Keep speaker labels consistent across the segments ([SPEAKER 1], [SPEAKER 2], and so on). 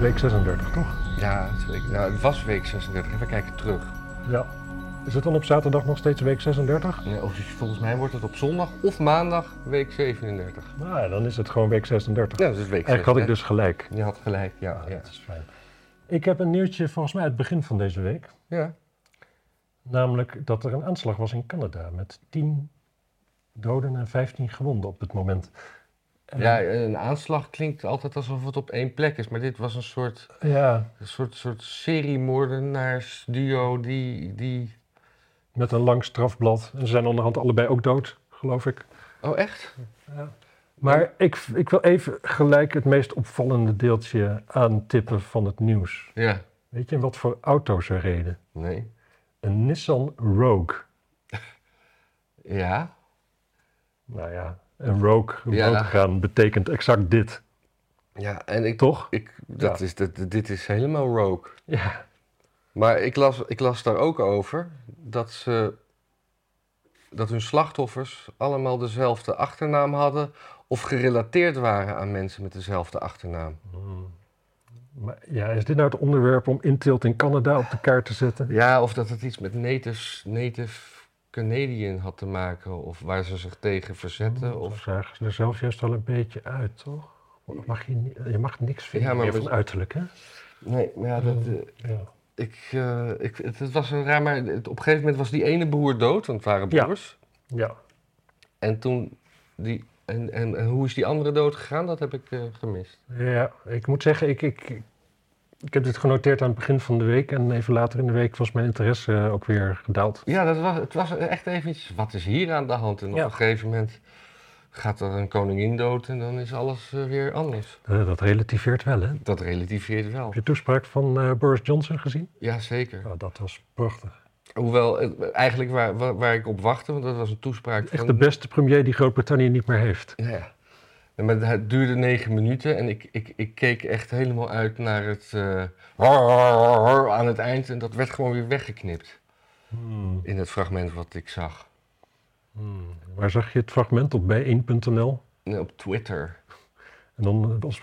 [SPEAKER 1] week 36, toch?
[SPEAKER 2] Ja, het, is week- ja, het was week 36. Even kijken terug.
[SPEAKER 1] Ja. Is het dan op zaterdag nog steeds week 36?
[SPEAKER 2] Nee, of- volgens mij wordt het op zondag of maandag week 37.
[SPEAKER 1] Nou ja, dan is het gewoon week 36.
[SPEAKER 2] Ja, dat is week 36.
[SPEAKER 1] Eigenlijk had ik dus gelijk.
[SPEAKER 2] Je had gelijk, ja.
[SPEAKER 1] Ah,
[SPEAKER 2] ja.
[SPEAKER 1] dat is fijn. Ik heb een nieuwtje volgens mij uit het begin van deze week.
[SPEAKER 2] ja.
[SPEAKER 1] Namelijk dat er een aanslag was in Canada met 10 doden en 15 gewonden op het moment. En-
[SPEAKER 2] Ja, een aanslag klinkt altijd alsof het op één plek is, maar dit was een soort,
[SPEAKER 1] ja,
[SPEAKER 2] een soort, soort seriemoordenaarsduo die, die...
[SPEAKER 1] met een lang strafblad. En ze zijn onderhand allebei ook dood, geloof ik.
[SPEAKER 2] Oh, echt?
[SPEAKER 1] Maar ik, ik wil even gelijk het meest opvallende deeltje aantippen van het nieuws.
[SPEAKER 2] Ja.
[SPEAKER 1] Weet je wat voor auto's er reden?
[SPEAKER 2] Nee.
[SPEAKER 1] Een Nissan Rogue.
[SPEAKER 2] Ja.
[SPEAKER 1] Nou ja, een Rogue,
[SPEAKER 2] Ja.
[SPEAKER 1] rood gaan betekent exact dit,
[SPEAKER 2] Ja, en ik...
[SPEAKER 1] toch?
[SPEAKER 2] ik dat
[SPEAKER 1] Ja.
[SPEAKER 2] is, dat, dit is helemaal rogue.
[SPEAKER 1] Ja.
[SPEAKER 2] Maar ik las, ik las daar ook over dat ze dat hun slachtoffers allemaal dezelfde achternaam hadden of gerelateerd waren aan mensen met dezelfde achternaam.
[SPEAKER 1] Maar ja, is dit nou het onderwerp om Intilt in Canada op de kaart te zetten?
[SPEAKER 2] Ja, of dat het iets met natives, Native Canadian had te maken of waar ze zich tegen verzetten.
[SPEAKER 1] Of
[SPEAKER 2] Of,
[SPEAKER 1] zagen ze er zelf juist al een beetje uit, toch? Mag je, ni- je mag niks vinden
[SPEAKER 2] Ja, maar
[SPEAKER 1] meer
[SPEAKER 2] we-
[SPEAKER 1] van uiterlijk, hè?
[SPEAKER 2] nee, maar ja, dat, eh,
[SPEAKER 1] Ja.
[SPEAKER 2] ik, eh, ik, het, het was een raar, maar het- op een gegeven moment was die ene broer dood, want het waren
[SPEAKER 1] Ja.
[SPEAKER 2] broers.
[SPEAKER 1] ja.
[SPEAKER 2] En toen, die, en, en, en hoe is die andere dood gegaan, dat heb ik eh, gemist.
[SPEAKER 1] Ja, ik moet zeggen, ik, ik, ik heb dit genoteerd aan het begin van de week. En even later in de week was mijn interesse eh, ook weer gedaald.
[SPEAKER 2] Ja, dat was, het was echt eventjes, wat is hier aan de hand? En
[SPEAKER 1] Ja.
[SPEAKER 2] op een gegeven moment gaat er een koningin dood en dan is alles eh, weer anders.
[SPEAKER 1] Eh, dat relativeert wel, hè? Heb
[SPEAKER 2] Dat relativeert wel.
[SPEAKER 1] je de toespraak van eh, Boris Johnson gezien?
[SPEAKER 2] Jazeker.
[SPEAKER 1] Nou, dat was prachtig.
[SPEAKER 2] Hoewel, eh, eigenlijk waar, waar, waar ik op wachtte, want dat was een toespraak
[SPEAKER 1] Echt
[SPEAKER 2] van...
[SPEAKER 1] de beste premier die Groot-Brittannië niet meer heeft.
[SPEAKER 2] Ja. Ja, Maar het duurde negen minuten en ik, ik, ik keek echt helemaal uit naar het eh, "Har, har, har, har" aan het eind. En dat werd gewoon weer weggeknipt in het fragment wat ik zag.
[SPEAKER 1] Waar zag je het fragment op bijeen.nl?
[SPEAKER 2] Nee, op Twitter.
[SPEAKER 1] En dan eh, als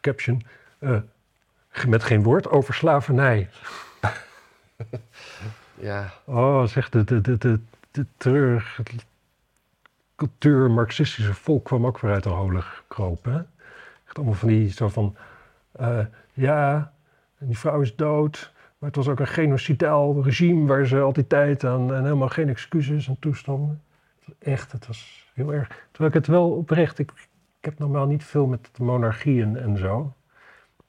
[SPEAKER 1] caption... eh, met geen woord over slavernij.
[SPEAKER 2] Ja,
[SPEAKER 1] Oh, zeg, de, de, de, de, de treurig het cultuur-marxistische volk kwam ook weer uit de holen gekropen. hè? Echt allemaal van die zo van, eh, ja, en die vrouw is dood, maar het was ook een genocidaal regime waar ze al die tijd aan en helemaal geen excuses en toestanden. Het was Echt, het was heel erg. Terwijl ik het wel oprecht, ik, ik heb normaal niet veel met de monarchieën en zo.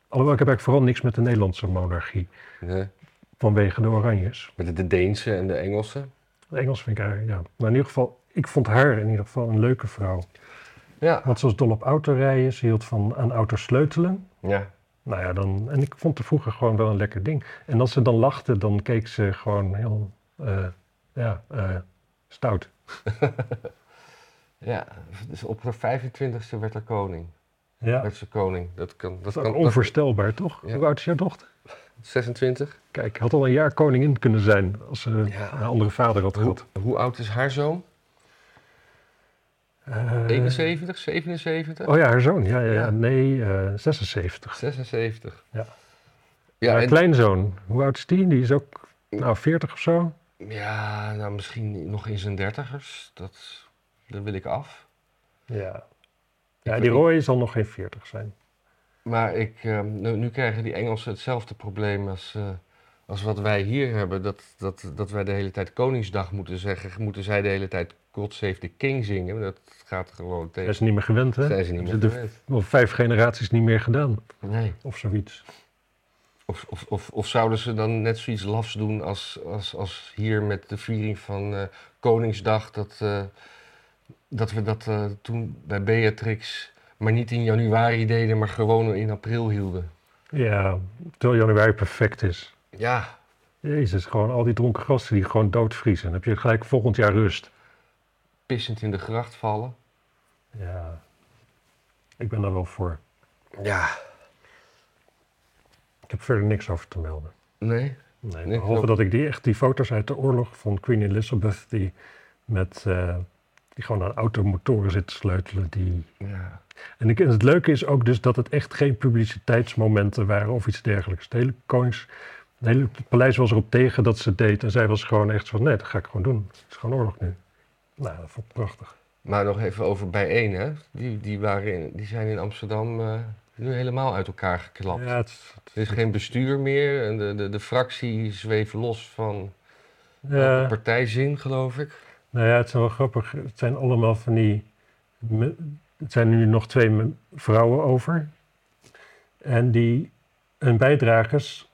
[SPEAKER 1] Alhoewel, ik heb eigenlijk vooral niks met de Nederlandse monarchie,
[SPEAKER 2] nee.
[SPEAKER 1] vanwege de Oranjes.
[SPEAKER 2] met de- de Deense en de Engelse.
[SPEAKER 1] Het Engels vind ik haar, ja. Maar in ieder geval, ik vond haar in ieder geval een leuke vrouw.
[SPEAKER 2] Ja.
[SPEAKER 1] Want ze was dol op autorijden, ze hield van aan auto's sleutelen.
[SPEAKER 2] Ja.
[SPEAKER 1] Nou ja, dan, en ik vond haar vroeger gewoon wel een lekker ding. En als ze dan lachte, dan keek ze gewoon heel, eh, ja, eh, stout.
[SPEAKER 2] Ja, dus op de 25e werd er koning.
[SPEAKER 1] Ja, dat
[SPEAKER 2] Werd ze koning. Dat kan. Dat
[SPEAKER 1] is ook
[SPEAKER 2] kan
[SPEAKER 1] onvoorstelbaar, toch?
[SPEAKER 2] Ja.
[SPEAKER 1] Hoe oud is jouw dochter?
[SPEAKER 2] dat- 26.
[SPEAKER 1] Kijk, had al een jaar koningin kunnen zijn als ze
[SPEAKER 2] Ja.
[SPEAKER 1] een andere vader had
[SPEAKER 2] Hoe,
[SPEAKER 1] gehad.
[SPEAKER 2] hoe oud is haar zoon?
[SPEAKER 1] Eh,
[SPEAKER 2] 71, 77?
[SPEAKER 1] oh ja, haar zoon, ja, ja, ja.
[SPEAKER 2] Ja.
[SPEAKER 1] nee, eh, 76.
[SPEAKER 2] 76.
[SPEAKER 1] Ja.
[SPEAKER 2] Ja,
[SPEAKER 1] haar
[SPEAKER 2] en-
[SPEAKER 1] kleinzoon, hoe oud is die? Die is ook, nou, 40 of zo.
[SPEAKER 2] ja, nou misschien nog in zijn dertigers. Dat, dat wil ik af.
[SPEAKER 1] Ja. Ja,
[SPEAKER 2] weet
[SPEAKER 1] die
[SPEAKER 2] niet.
[SPEAKER 1] Roy zal nog geen 40 zijn.
[SPEAKER 2] Maar ik, ehm, nu, nu krijgen die Engelsen hetzelfde probleem als, eh, als wat wij hier hebben. Dat, dat, dat wij de hele tijd Koningsdag moeten zeggen. Moeten zij de hele tijd God Save the King zingen. Dat gaat gewoon
[SPEAKER 1] Hij is
[SPEAKER 2] tegen.
[SPEAKER 1] niet meer gewend, hè?
[SPEAKER 2] Zijn ze niet meer
[SPEAKER 1] de,
[SPEAKER 2] gewend.
[SPEAKER 1] Al vijf generaties niet meer gedaan,
[SPEAKER 2] Nee.
[SPEAKER 1] of zoiets.
[SPEAKER 2] Of, of, of, of zouden ze dan net zoiets lafs doen als, als, als hier met de viering van eh, Koningsdag, dat, eh, dat we dat eh, toen bij Beatrix maar niet in januari deden, maar gewoon in april hielden?
[SPEAKER 1] Ja, terwijl januari perfect is.
[SPEAKER 2] Ja,
[SPEAKER 1] Jezus, gewoon al die dronken gasten die gewoon doodvriezen. Dan heb je gelijk volgend jaar rust.
[SPEAKER 2] pissend in de gracht vallen.
[SPEAKER 1] Ja. Ik ben daar wel voor.
[SPEAKER 2] Ja.
[SPEAKER 1] Ik heb verder niks over te melden.
[SPEAKER 2] Nee?
[SPEAKER 1] Nee,
[SPEAKER 2] Niks
[SPEAKER 1] behalve
[SPEAKER 2] ook.
[SPEAKER 1] dat ik die, echt die foto's uit de oorlog van Queen Elizabeth, die met eh, Die gewoon aan automotoren zit te sleutelen. Die...
[SPEAKER 2] Ja.
[SPEAKER 1] En ik- en het leuke is ook dus dat het echt geen publiciteitsmomenten waren of iets dergelijks. Het hele konings... Het hele paleis was erop tegen dat ze het deed. En zij was gewoon echt van, nee, dat ga ik gewoon doen. Het is gewoon oorlog nu. Nou, dat vond ik prachtig.
[SPEAKER 2] Maar nog even over bijeen, hè? Die, die, waren in, die zijn in Amsterdam eh, nu helemaal uit elkaar geklapt.
[SPEAKER 1] Ja, het is- het
[SPEAKER 2] Er is
[SPEAKER 1] is-
[SPEAKER 2] geen bestuur meer. En de, de, de fractie zweeft los van
[SPEAKER 1] ja.
[SPEAKER 2] partijzin, geloof ik.
[SPEAKER 1] Nou ja, het is wel grappig. Het zijn allemaal van die. me- Het zijn nu nog twee me- vrouwen over. En die. hun bijdragers.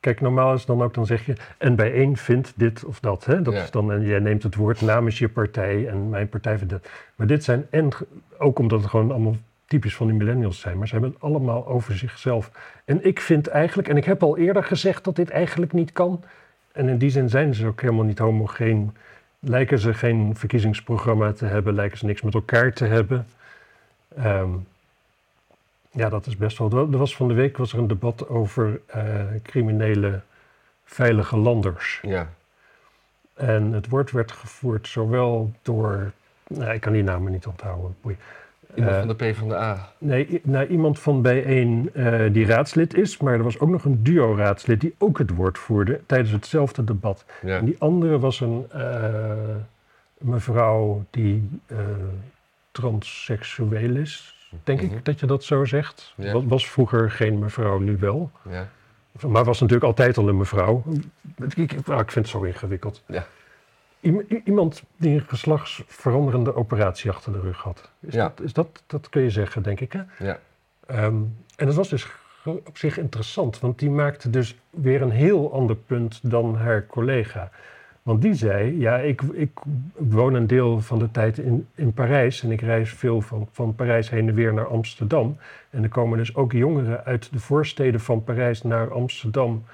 [SPEAKER 1] Kijk, normaal is dan ook, dan zeg je. En bij één vindt dit of dat. Hè? dat
[SPEAKER 2] Ja.
[SPEAKER 1] is dan, en jij neemt het woord namens je partij. En mijn partij vindt dat. Maar dit zijn. En ge- ook omdat het gewoon allemaal typisch van die millennials zijn. Maar ze hebben het allemaal over zichzelf. En ik vind eigenlijk. En ik heb al eerder gezegd dat dit eigenlijk niet kan. En in die zin zijn ze ook helemaal niet homogeen lijken ze geen verkiezingsprogramma te hebben, lijken ze niks met elkaar te hebben. Ehm, ja, dat is best wel. Er was van de week was er een debat over eh, criminele veilige landers.
[SPEAKER 2] Ja.
[SPEAKER 1] En het woord werd gevoerd zowel door. Nou, ik kan die namen niet onthouden. boeien.
[SPEAKER 2] Iemand
[SPEAKER 1] Eh,
[SPEAKER 2] van de PvdA.
[SPEAKER 1] Nee, i- nou, iemand van bijeen eh die raadslid is, maar er was ook nog een duo-raadslid die ook het woord voerde tijdens hetzelfde debat.
[SPEAKER 2] Ja.
[SPEAKER 1] En die andere was een eh, mevrouw die eh, transseksueel is. Denk
[SPEAKER 2] Mhm.
[SPEAKER 1] ik dat je dat zo zegt.
[SPEAKER 2] Ja.
[SPEAKER 1] Wa- Was vroeger geen mevrouw, nu wel.
[SPEAKER 2] ja.
[SPEAKER 1] Maar was natuurlijk altijd al een mevrouw. Ik, ik, ah, ik vind het zo ingewikkeld.
[SPEAKER 2] Ja.
[SPEAKER 1] Iem- i- iemand die een geslachtsveranderende operatie achter de rug had. Is
[SPEAKER 2] Ja.
[SPEAKER 1] dat, is dat, dat kun je zeggen, denk ik. Hè?
[SPEAKER 2] Ja.
[SPEAKER 1] Ehm, en dat was dus gro- op zich interessant, want die maakte dus weer een heel ander punt dan haar collega. Want die zei, ja, ik, ik woon een deel van de tijd in, in Parijs en ik reis veel van, van Parijs heen en weer naar Amsterdam. En er komen dus ook jongeren uit de voorsteden van Parijs naar Amsterdam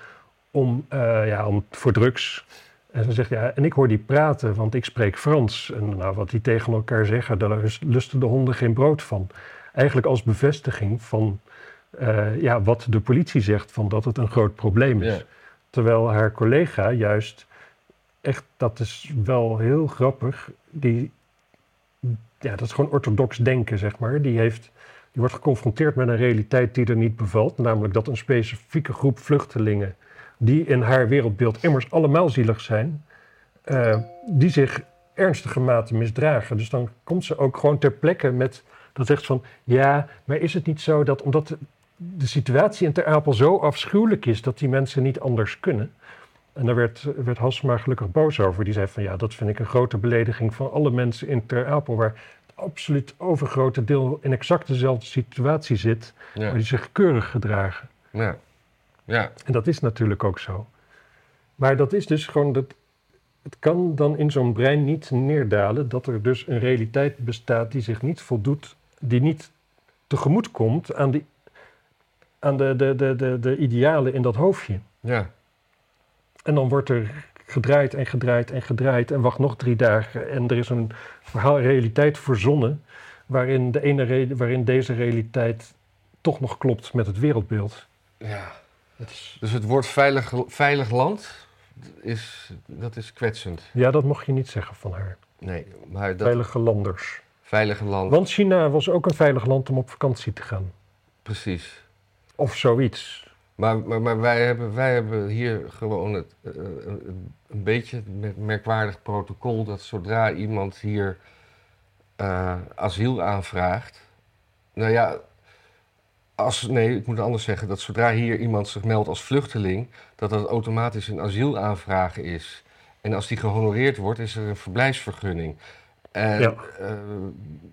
[SPEAKER 1] om, eh, ja, om, voor drugs. En ze zegt, ja, en ik hoor die praten, want ik spreek Frans. En nou, wat die tegen elkaar zeggen, daar lus- lusten de honden geen brood van. Eigenlijk als bevestiging van eh, ja, wat de politie zegt, van dat het een groot probleem is.
[SPEAKER 2] Ja.
[SPEAKER 1] Terwijl haar collega juist, echt, dat is wel heel grappig, die, ja, dat is gewoon orthodox denken, zeg maar. Die heeft je wordt geconfronteerd met een realiteit die er niet bevalt, namelijk dat een specifieke groep vluchtelingen, die in haar wereldbeeld immers allemaal zielig zijn, eh, die zich ernstige mate misdragen. Dus dan komt ze ook gewoon ter plekke met dat zegt ze van, ja, maar is het niet zo dat omdat de- de situatie in Ter Apel zo afschuwelijk is dat die mensen niet anders kunnen? En daar werd, werd Hasma gelukkig boos over. Die zei van, ja, dat vind ik een grote belediging van alle mensen in Ter Apel, waar absoluut overgrote deel in exact dezelfde situatie zit, maar dus-
[SPEAKER 2] Ja.
[SPEAKER 1] die zich keurig gedragen.
[SPEAKER 2] Ja. ja.
[SPEAKER 1] En dat is natuurlijk ook zo. Maar dat is dus gewoon dat. Het kan dan in zo'n brein niet neerdalen dat er dus een realiteit bestaat die zich niet voldoet, die niet tegemoet komt aan, die, aan de, de, de, de, de idealen in dat hoofdje.
[SPEAKER 2] ja.
[SPEAKER 1] En dan wordt er gedraaid en gedraaid en gedraaid en wacht nog drie dagen. En er is een verhaal, realiteit verzonnen waarin, de ene re- waarin deze realiteit toch nog klopt met het wereldbeeld.
[SPEAKER 2] Ja. Dus het woord veilig, veilig land, is, dat is kwetsend.
[SPEAKER 1] Ja, dat mocht je niet zeggen van haar.
[SPEAKER 2] Nee, maar dat
[SPEAKER 1] Veilige landers.
[SPEAKER 2] veilige land,
[SPEAKER 1] Want China was ook een veilig land om op vakantie te gaan.
[SPEAKER 2] precies.
[SPEAKER 1] Of zoiets.
[SPEAKER 2] Maar, maar, maar wij, hebben, wij hebben hier gewoon het, eh, een een beetje het mer- merkwaardig protocol dat zodra iemand hier eh, asiel aanvraagt. Nou ja, als, nee, ik moet het anders zeggen. Dat zodra hier iemand zich meldt als vluchteling, dat dat automatisch een asielaanvraag is. En als die gehonoreerd wordt, is er een verblijfsvergunning. En
[SPEAKER 1] Ja.
[SPEAKER 2] eh,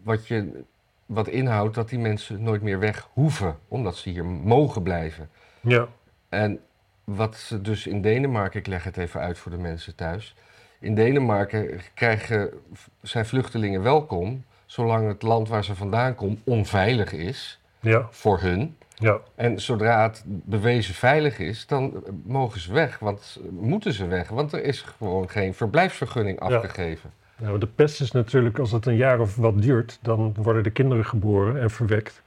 [SPEAKER 2] wat, je, wat inhoudt dat die mensen nooit meer weg hoeven, omdat ze hier mogen blijven.
[SPEAKER 1] Ja.
[SPEAKER 2] En wat ze dus in Denemarken, ik leg het even uit voor de mensen thuis. In Denemarken krijgen, zijn vluchtelingen welkom, zolang het land waar ze vandaan komen onveilig is
[SPEAKER 1] Ja.
[SPEAKER 2] voor hun.
[SPEAKER 1] Ja.
[SPEAKER 2] En zodra het bewezen veilig is, dan eh, mogen ze weg, want eh, moeten ze weg, want er is gewoon geen verblijfsvergunning afgegeven.
[SPEAKER 1] Nou, de pest is natuurlijk, als het een jaar of wat duurt, dan worden de kinderen geboren en verwekt.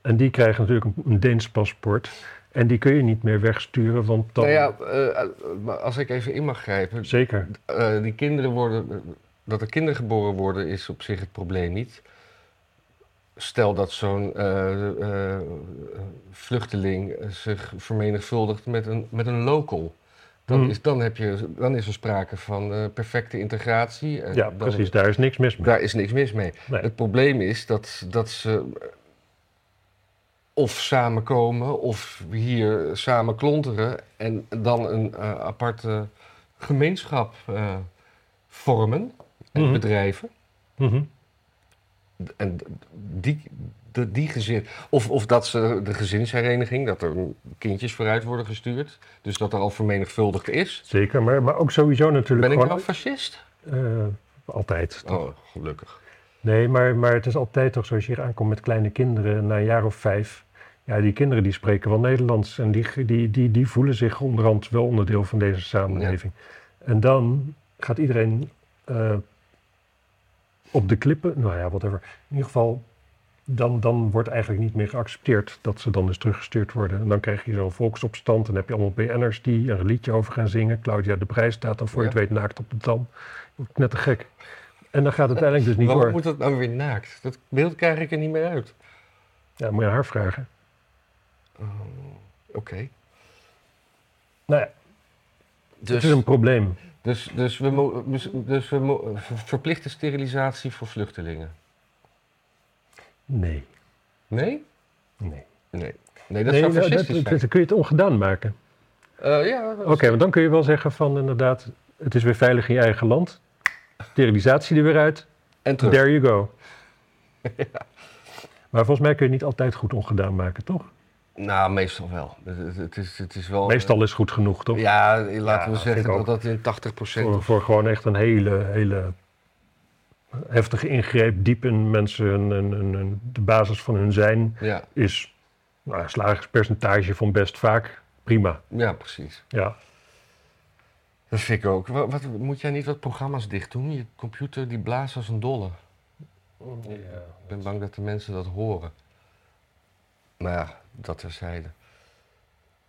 [SPEAKER 1] En die krijgen natuurlijk een, een Deens paspoort. En die kun je niet meer wegsturen, want dan...
[SPEAKER 2] Nou ja, eh, eh, maar als ik even in mag grijpen,
[SPEAKER 1] Zeker.
[SPEAKER 2] eh, die kinderen worden eh, dat er kinderen geboren worden is op zich het probleem niet. Stel dat zo'n eh, eh, vluchteling zich vermenigvuldigt met een, met een local. Dan,
[SPEAKER 1] Hmm.
[SPEAKER 2] is, dan, heb je, dan is er sprake van eh, perfecte integratie. En
[SPEAKER 1] Ja,
[SPEAKER 2] eh, dan-
[SPEAKER 1] precies. Daar is niks mis mee.
[SPEAKER 2] Daar is niks mis mee.
[SPEAKER 1] Nee.
[SPEAKER 2] Het probleem is dat, dat ze of samenkomen of hier samen klonteren en dan een eh, aparte gemeenschap eh, vormen en
[SPEAKER 1] Mhm.
[SPEAKER 2] bedrijven.
[SPEAKER 1] Mhm.
[SPEAKER 2] En die, de, die gezin, of, of dat ze de gezinshereniging, dat er kindjes vooruit worden gestuurd, dus dat er al vermenigvuldigd is.
[SPEAKER 1] Zeker, maar, maar ook sowieso natuurlijk
[SPEAKER 2] Ben ik
[SPEAKER 1] gewoon...
[SPEAKER 2] nou fascist?
[SPEAKER 1] eh, altijd.
[SPEAKER 2] Oh, gelukkig.
[SPEAKER 1] Nee, maar, maar het is altijd toch zo als je hier aankomt met kleine kinderen na een jaar of vijf. Ja, die kinderen die spreken wel Nederlands en die, die, die, die voelen zich onderhand wel onderdeel van deze samenleving. En dan gaat iedereen eh, op de klippen, nou ja, whatever. In ieder geval, dan, dan wordt eigenlijk niet meer geaccepteerd dat ze dan dus teruggestuurd worden. En dan krijg je zo'n volksopstand en heb je allemaal BN'ers die er een liedje over gaan zingen. Claudia de Brij staat dan voor je
[SPEAKER 2] Ja.
[SPEAKER 1] het weet naakt op de dam. Net te gek. En dan gaat het uiteindelijk dus niet
[SPEAKER 2] Waarom
[SPEAKER 1] door.
[SPEAKER 2] moet dat nou weer naakt? Dat beeld krijg ik er niet meer uit.
[SPEAKER 1] Ja, moet je haar vragen.
[SPEAKER 2] Oké.
[SPEAKER 1] Nou ja, het
[SPEAKER 2] Dus,
[SPEAKER 1] is een probleem.
[SPEAKER 2] dus, dus, we mo- dus- dus we mo- ver- verplichte sterilisatie voor vluchtelingen.
[SPEAKER 1] Nee,
[SPEAKER 2] Nee?
[SPEAKER 1] nee.
[SPEAKER 2] Nee. Nee, dat
[SPEAKER 1] nee, nou,
[SPEAKER 2] zou fascistisch
[SPEAKER 1] dat-
[SPEAKER 2] zijn.
[SPEAKER 1] Dan kun je het ongedaan maken.
[SPEAKER 2] Eh, ja,
[SPEAKER 1] Oké, want dan kun je wel zeggen van inderdaad, het is weer veilig in je eigen land. Sterilisatie er weer uit.
[SPEAKER 2] en terug.
[SPEAKER 1] There you go. Maar volgens mij kun je het niet altijd goed ongedaan maken, toch?
[SPEAKER 2] Nou, meestal wel. Het, het- het is, het is wel eh,
[SPEAKER 1] Meestal is goed genoeg, toch?
[SPEAKER 2] Ja, laten we
[SPEAKER 1] vind
[SPEAKER 2] zeggen
[SPEAKER 1] ik
[SPEAKER 2] dat
[SPEAKER 1] ook.
[SPEAKER 2] dat in 80%
[SPEAKER 1] Voor, voor gewoon echt een hele, hele heftige ingreep diep in mensen, hun- hun- hun- hun- de basis van hun zijn,
[SPEAKER 2] Ja,
[SPEAKER 1] is nou, slagingspercentage van best vaak prima.
[SPEAKER 2] ja, precies.
[SPEAKER 1] Ja,
[SPEAKER 2] Dat vind ik ook. Wat, wat- moet jij niet wat programma's dicht doen? Je computer die blaast als een dolle. Ik ben bang dat de mensen dat horen. Maar ja, dat terzijde.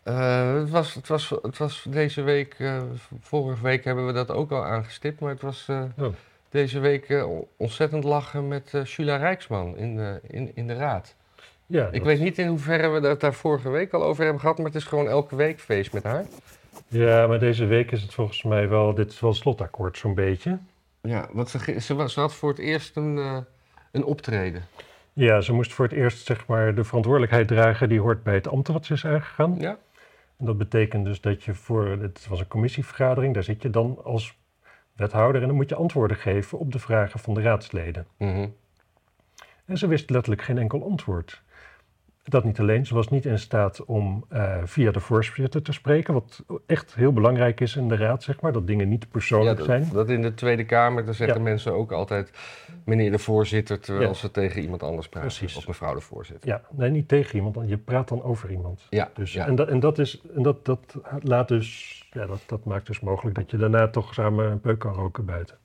[SPEAKER 2] Eh het, was, het, was, het was deze week, eh, vorige week hebben we dat ook al aangestipt, maar het was eh,
[SPEAKER 1] Oh.
[SPEAKER 2] deze week eh, on- ontzettend lachen met eh Julia Rijksman in de, in, in de raad.
[SPEAKER 1] ja
[SPEAKER 2] Ik
[SPEAKER 1] dat-
[SPEAKER 2] weet niet in hoeverre we dat daar vorige week al over hebben gehad, maar het is gewoon elke week feest met haar.
[SPEAKER 1] Ja, maar deze week is het volgens mij wel, dit is wel het slotakkoord zo'n beetje.
[SPEAKER 2] Ja, want ze, ge- ze, wa- ze had voor het eerst een, eh, een optreden.
[SPEAKER 1] Ja, ze moest voor het eerst zeg maar de verantwoordelijkheid dragen die hoort bij het ambt wat ze is aangegaan.
[SPEAKER 2] Ja,
[SPEAKER 1] En dat betekent dus dat je voor, het was een commissievergadering, daar zit je dan als wethouder en dan moet je antwoorden geven op de vragen van de raadsleden.
[SPEAKER 2] Mhm.
[SPEAKER 1] En ze wist letterlijk geen enkel antwoord. Dat niet alleen, ze was niet in staat om eh, via de voorzitter te spreken, wat echt heel belangrijk is in de raad, zeg maar, dat dingen niet persoonlijk
[SPEAKER 2] ja,
[SPEAKER 1] zijn.
[SPEAKER 2] dat, dat in de Tweede Kamer, daar zeggen
[SPEAKER 1] Ja.
[SPEAKER 2] mensen ook altijd meneer de voorzitter, terwijl
[SPEAKER 1] Ja.
[SPEAKER 2] ze tegen iemand anders praten.
[SPEAKER 1] Precies.
[SPEAKER 2] Of mevrouw de voorzitter.
[SPEAKER 1] Ja, nee, niet tegen iemand, want je praat dan over iemand.
[SPEAKER 2] Ja,
[SPEAKER 1] Dus,
[SPEAKER 2] ja.
[SPEAKER 1] En, dat, en, dat, is, en dat, dat, laat dus, ja, dat, dat maakt dus mogelijk dat je daarna toch samen een peuk kan roken buiten.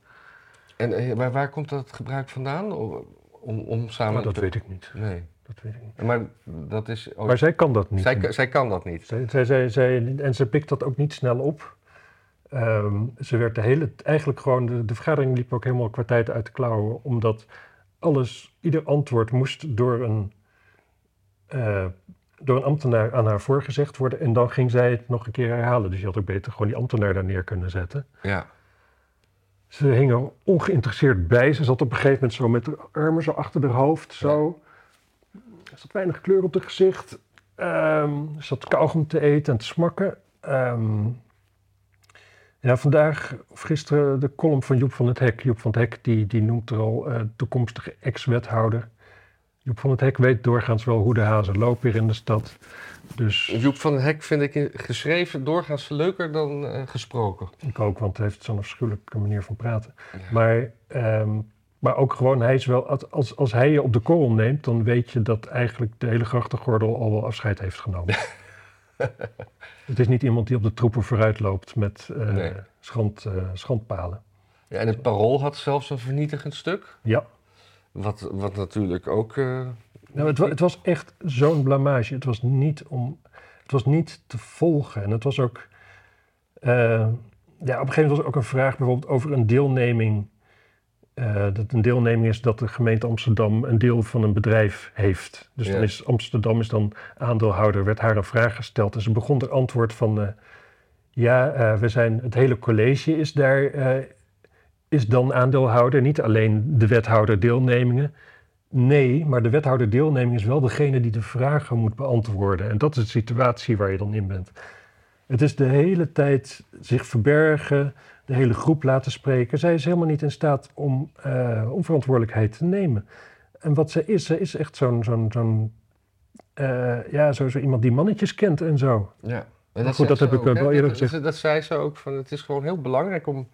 [SPEAKER 2] En eh, waar, waar komt dat gebruik vandaan? O- Om, om samen...
[SPEAKER 1] Maar Oh, dat
[SPEAKER 2] te-
[SPEAKER 1] weet ik niet.
[SPEAKER 2] Nee,
[SPEAKER 1] Dat weet ik niet.
[SPEAKER 2] maar dat is... oh,
[SPEAKER 1] Maar zij kan dat niet.
[SPEAKER 2] zij, kan- zij kan dat niet.
[SPEAKER 1] Zij, zij, zij, zij- en ze pikt dat ook niet snel op. Ehm, ze werd de hele, eigenlijk gewoon, de, de vergadering liep ook helemaal kwartijd uit de klauwen, omdat alles, ieder antwoord moest door een, eh, door een ambtenaar aan haar voorgezegd worden. En dan ging zij het nog een keer herhalen. Dus je had ook beter gewoon die ambtenaar daar neer kunnen zetten.
[SPEAKER 2] Ja.
[SPEAKER 1] Ze hing er ongeïnteresseerd bij. Ze zat op een gegeven moment zo met de armen zo achter haar hoofd. Zo. Er zat weinig kleur op haar gezicht. Ehm, ze zat kauwgom te eten en te smakken. Ehm, ja, vandaag, of gisteren, de column van Joep van het Hek. Joep van het Hek die, die noemt er al eh, toekomstige ex-wethouder. Joep van het Hek weet doorgaans wel hoe de hazen lopen hier in de stad. Dus
[SPEAKER 2] Joep van den Hek vind ik in- geschreven doorgaans leuker dan eh, gesproken.
[SPEAKER 1] Ik ook, want hij heeft zo'n afschuwelijke manier van praten.
[SPEAKER 2] Ja.
[SPEAKER 1] Maar, ehm, maar ook gewoon, hij is wel, als- als, als hij je op de korrel neemt, dan weet je dat eigenlijk de hele grachtengordel al wel afscheid heeft genomen. het is niet iemand die op de troepen vooruit loopt met eh,
[SPEAKER 2] Nee.
[SPEAKER 1] schand, eh, schandpalen.
[SPEAKER 2] Ja, en het Parool had zelfs een vernietigend stuk.
[SPEAKER 1] Ja,
[SPEAKER 2] Wat, wat natuurlijk ook... eh,
[SPEAKER 1] nou, het, wa- het was echt zo'n blamage. Het was niet om, het was niet te volgen. En het was ook, eh, ja, op een gegeven moment was er ook een vraag bijvoorbeeld over een deelneming eh, dat een deelneming is dat de gemeente Amsterdam een deel van een bedrijf heeft. Dus dan
[SPEAKER 2] Ja.
[SPEAKER 1] is Amsterdam is dan aandeelhouder, werd haar een vraag gesteld en ze begon er antwoord van, eh, ja, eh, we zijn, het hele college is daar, eh, is dan aandeelhouder, niet alleen de wethouder deelnemingen. Nee, maar de wethouder deelneming is wel degene die de vragen moet beantwoorden. En dat is de situatie waar je dan in bent. Het is de hele tijd zich verbergen, de hele groep laten spreken. Zij is helemaal niet in staat om, eh, om verantwoordelijkheid te nemen. En wat zij is, zij is echt zo'n zo'n zo'n, eh, ja, zo, zo iemand die mannetjes kent en zo.
[SPEAKER 2] Ja.
[SPEAKER 1] Maar
[SPEAKER 2] En
[SPEAKER 1] goed,
[SPEAKER 2] zei
[SPEAKER 1] dat heb
[SPEAKER 2] ze
[SPEAKER 1] ik wel
[SPEAKER 2] hè?
[SPEAKER 1] eerder
[SPEAKER 2] Dat-
[SPEAKER 1] gezegd.
[SPEAKER 2] Dat, dat zei ze ook, van, het is gewoon heel belangrijk om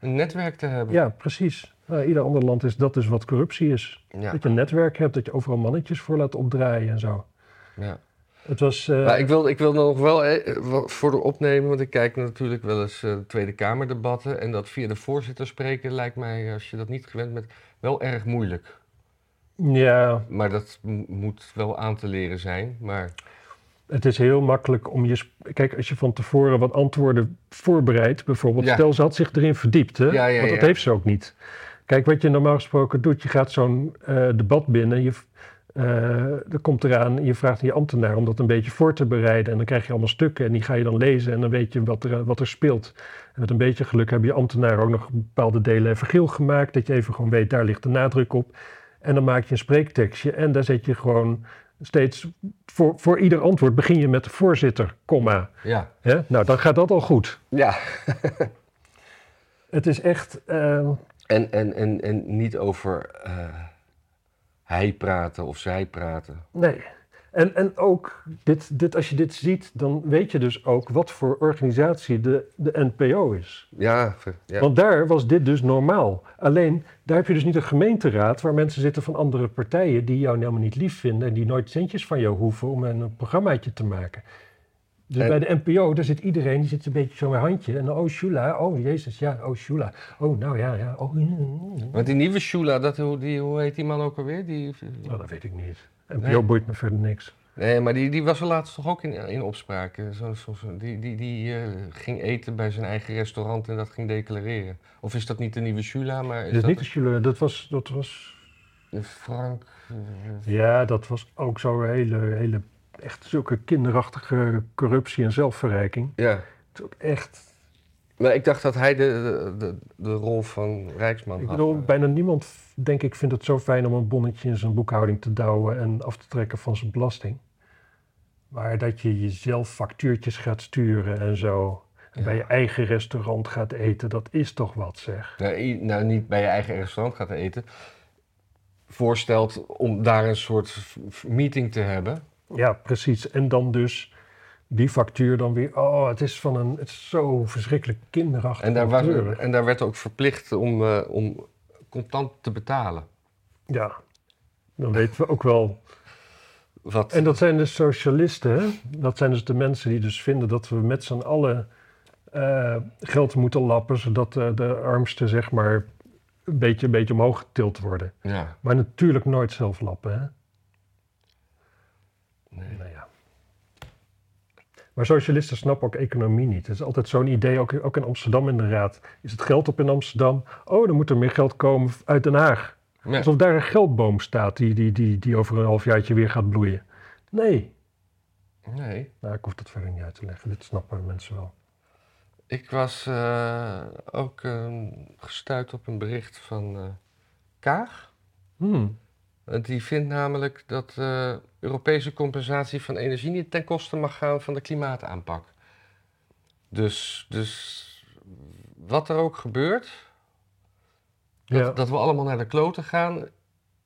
[SPEAKER 2] een netwerk te hebben.
[SPEAKER 1] Ja, precies. Nou, ieder ander land is dat dus wat corruptie is.
[SPEAKER 2] Ja,
[SPEAKER 1] Dat je een netwerk hebt, dat je overal mannetjes voor laat opdraaien en zo.
[SPEAKER 2] ja.
[SPEAKER 1] Het was... eh,
[SPEAKER 2] Maar ik wil, ik wil nog wel eh, wat voor de opnemen, want ik kijk natuurlijk wel eens eh, Tweede Kamerdebatten. En dat via de voorzitter spreken lijkt mij, als je dat niet gewend bent, wel erg moeilijk.
[SPEAKER 1] ja,
[SPEAKER 2] Maar dat m- moet wel aan te leren zijn. Maar
[SPEAKER 1] Het is heel makkelijk om je. sp- Kijk, als je van tevoren wat antwoorden voorbereidt, bijvoorbeeld.
[SPEAKER 2] Ja.
[SPEAKER 1] Stel, ze had zich erin verdiept, hè?
[SPEAKER 2] Ja, ja,
[SPEAKER 1] want dat
[SPEAKER 2] ja.
[SPEAKER 1] heeft ze ook niet. Kijk, wat je normaal gesproken doet, je gaat zo'n eh, debat binnen. Je, v- eh, er komt eraan, en je vraagt aan je ambtenaar om dat een beetje voor te bereiden. En dan krijg je allemaal stukken en die ga je dan lezen en dan weet je wat er, eh, wat er speelt. En met een beetje geluk hebben je ambtenaar ook nog bepaalde delen even geel gemaakt. Dat je even gewoon weet, daar ligt de nadruk op. En dan maak je een spreektekstje en daar zet je gewoon steeds voor, voor ieder antwoord begin je met de voorzitter, komma.
[SPEAKER 2] ja.
[SPEAKER 1] Hè? Nou, dan gaat dat al goed.
[SPEAKER 2] Ja.
[SPEAKER 1] Het is echt, eh,
[SPEAKER 2] En, en, en, en niet over eh, hij praten of zij praten.
[SPEAKER 1] nee. En, en ook, dit, dit, als je dit ziet, dan weet je dus ook wat voor organisatie de, de NPO is.
[SPEAKER 2] Ja, ver- ja.
[SPEAKER 1] Want daar was dit dus normaal. Alleen, daar heb je dus niet een gemeenteraad waar mensen zitten van andere partijen die jou helemaal niet lief vinden en die nooit centjes van jou hoeven om een programmaatje te maken. Dus
[SPEAKER 2] En-
[SPEAKER 1] bij de NPO, daar zit iedereen, die zit een beetje zo met handje. En oh, Shula, oh jezus, ja, oh Shula. Oh, nou ja, ja, oh. mm, mm, mm.
[SPEAKER 2] Want die nieuwe Shula, dat, hoe, die, hoe heet die man ook alweer? Die,
[SPEAKER 1] Nou, dat weet ik niet. NPO
[SPEAKER 2] Nee.
[SPEAKER 1] boeit me verder niks.
[SPEAKER 2] nee, maar die, die was er laatst toch ook in, in opspraak. eh, Zo, zo, zo- die die, die eh, ging eten bij zijn eigen restaurant en dat ging declareren. Of is dat niet de nieuwe Shula, maar is
[SPEAKER 1] Dus
[SPEAKER 2] dat
[SPEAKER 1] niet de Shula, dat was, dat was,
[SPEAKER 2] de Frank? eh,
[SPEAKER 1] ja, dat was ook zo'n hele, hele, echt zulke kinderachtige corruptie en zelfverrijking.
[SPEAKER 2] ja.
[SPEAKER 1] Het is ook echt,
[SPEAKER 2] Maar ik dacht dat hij de, de, de, de rol van Rijksman
[SPEAKER 1] Ik
[SPEAKER 2] had.
[SPEAKER 1] bedoel, bijna niemand, denk ik, vindt het zo fijn om een bonnetje in zijn boekhouding te douwen en af te trekken van zijn belasting. Maar dat je jezelf factuurtjes gaat sturen en zo. En
[SPEAKER 2] Ja.
[SPEAKER 1] bij je eigen restaurant gaat eten, dat is toch wat zeg.
[SPEAKER 2] nou, i- nou, niet bij je eigen restaurant gaat eten, voorstelt om daar een soort v- v- meeting te hebben.
[SPEAKER 1] Ja, precies. En dan dus die factuur dan weer. Oh, het is van een. Het is zo verschrikkelijk kinderachtig.
[SPEAKER 2] En daar, was,
[SPEAKER 1] kleurig.
[SPEAKER 2] en daar werd ook verplicht om, eh, om contant te betalen.
[SPEAKER 1] Ja, dan weten we ook wel
[SPEAKER 2] Wat,
[SPEAKER 1] En dat zijn dus socialisten, hè? Dat zijn dus de mensen die dus vinden dat we met z'n allen eh, geld moeten lappen, zodat eh, de armsten zeg maar een beetje, een beetje omhoog getild worden.
[SPEAKER 2] ja,
[SPEAKER 1] Maar natuurlijk nooit zelf lappen, hè?
[SPEAKER 2] nee.
[SPEAKER 1] Nou ja. Maar socialisten snappen ook economie niet. Het is altijd zo'n idee, ook, ook in Amsterdam in de raad. Is het geld op in Amsterdam? Oh, dan moet er meer geld komen uit Den Haag.
[SPEAKER 2] Ja.
[SPEAKER 1] Alsof daar een geldboom staat die, die, die, die over een halfjaartje weer gaat bloeien. Nee,
[SPEAKER 2] nee.
[SPEAKER 1] Nou, ik hoef dat verder niet uit te leggen. Dit snappen mensen wel.
[SPEAKER 2] Ik was eh, ook eh, gestuurd op een bericht van eh, Kaag.
[SPEAKER 1] Hmm.
[SPEAKER 2] Want Die vindt namelijk dat eh, Europese compensatie van energie niet ten koste mag gaan van de klimaataanpak. Dus, dus wat er ook gebeurt, dat,
[SPEAKER 1] Ja.
[SPEAKER 2] dat we allemaal naar de kloten gaan,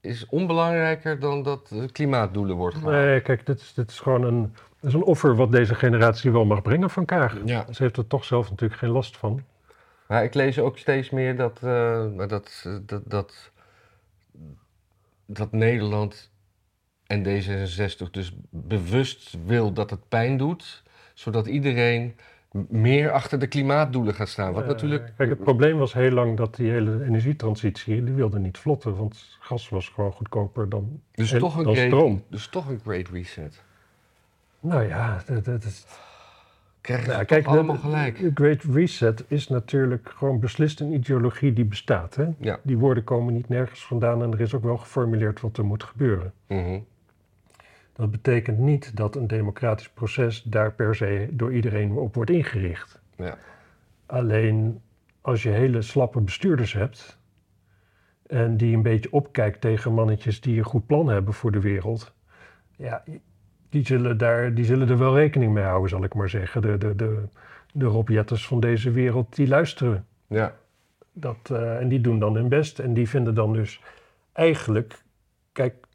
[SPEAKER 2] is onbelangrijker dan dat de klimaatdoelen wordt gehaald.
[SPEAKER 1] Nee, kijk, dit is, dit is gewoon een, dit is een offer wat deze generatie wel mag brengen van Kaag.
[SPEAKER 2] Ja.
[SPEAKER 1] Ze heeft er toch zelf natuurlijk geen last van.
[SPEAKER 2] Maar ik lees ook steeds meer dat, eh, maar dat, eh, dat, dat, dat Nederland en D66 dus bewust wil dat het pijn doet, zodat iedereen m- meer achter de klimaatdoelen gaat staan. Wat
[SPEAKER 1] Eh,
[SPEAKER 2] natuurlijk.
[SPEAKER 1] Kijk, het probleem was heel lang dat die hele energietransitie, die wilde niet vlotten, want gas was gewoon goedkoper dan,
[SPEAKER 2] Dus
[SPEAKER 1] heel-
[SPEAKER 2] toch, een
[SPEAKER 1] dan
[SPEAKER 2] great,
[SPEAKER 1] stroom.
[SPEAKER 2] dus toch een great reset.
[SPEAKER 1] Nou ja, dat, dat is...
[SPEAKER 2] Krijg je
[SPEAKER 1] Nou,
[SPEAKER 2] toch
[SPEAKER 1] kijk, dat-
[SPEAKER 2] allemaal gelijk.
[SPEAKER 1] De Great Reset is natuurlijk gewoon beslist een ideologie die bestaat. Hè?
[SPEAKER 2] Ja.
[SPEAKER 1] Die woorden komen niet nergens vandaan en er is ook wel geformuleerd wat er moet gebeuren.
[SPEAKER 2] Mhm.
[SPEAKER 1] Dat betekent niet dat een democratisch proces daar per se door iedereen op wordt ingericht.
[SPEAKER 2] Ja.
[SPEAKER 1] Alleen als je hele slappe bestuurders hebt en die een beetje opkijkt tegen mannetjes die een goed plan hebben voor de wereld, ja, die zullen, daar, die zullen er wel rekening mee houden, zal ik maar zeggen. De, de, de, de Rob Jetters van deze wereld, die luisteren
[SPEAKER 2] ja.
[SPEAKER 1] dat, eh, en die doen dan hun best. En die vinden dan dus eigenlijk, kijk,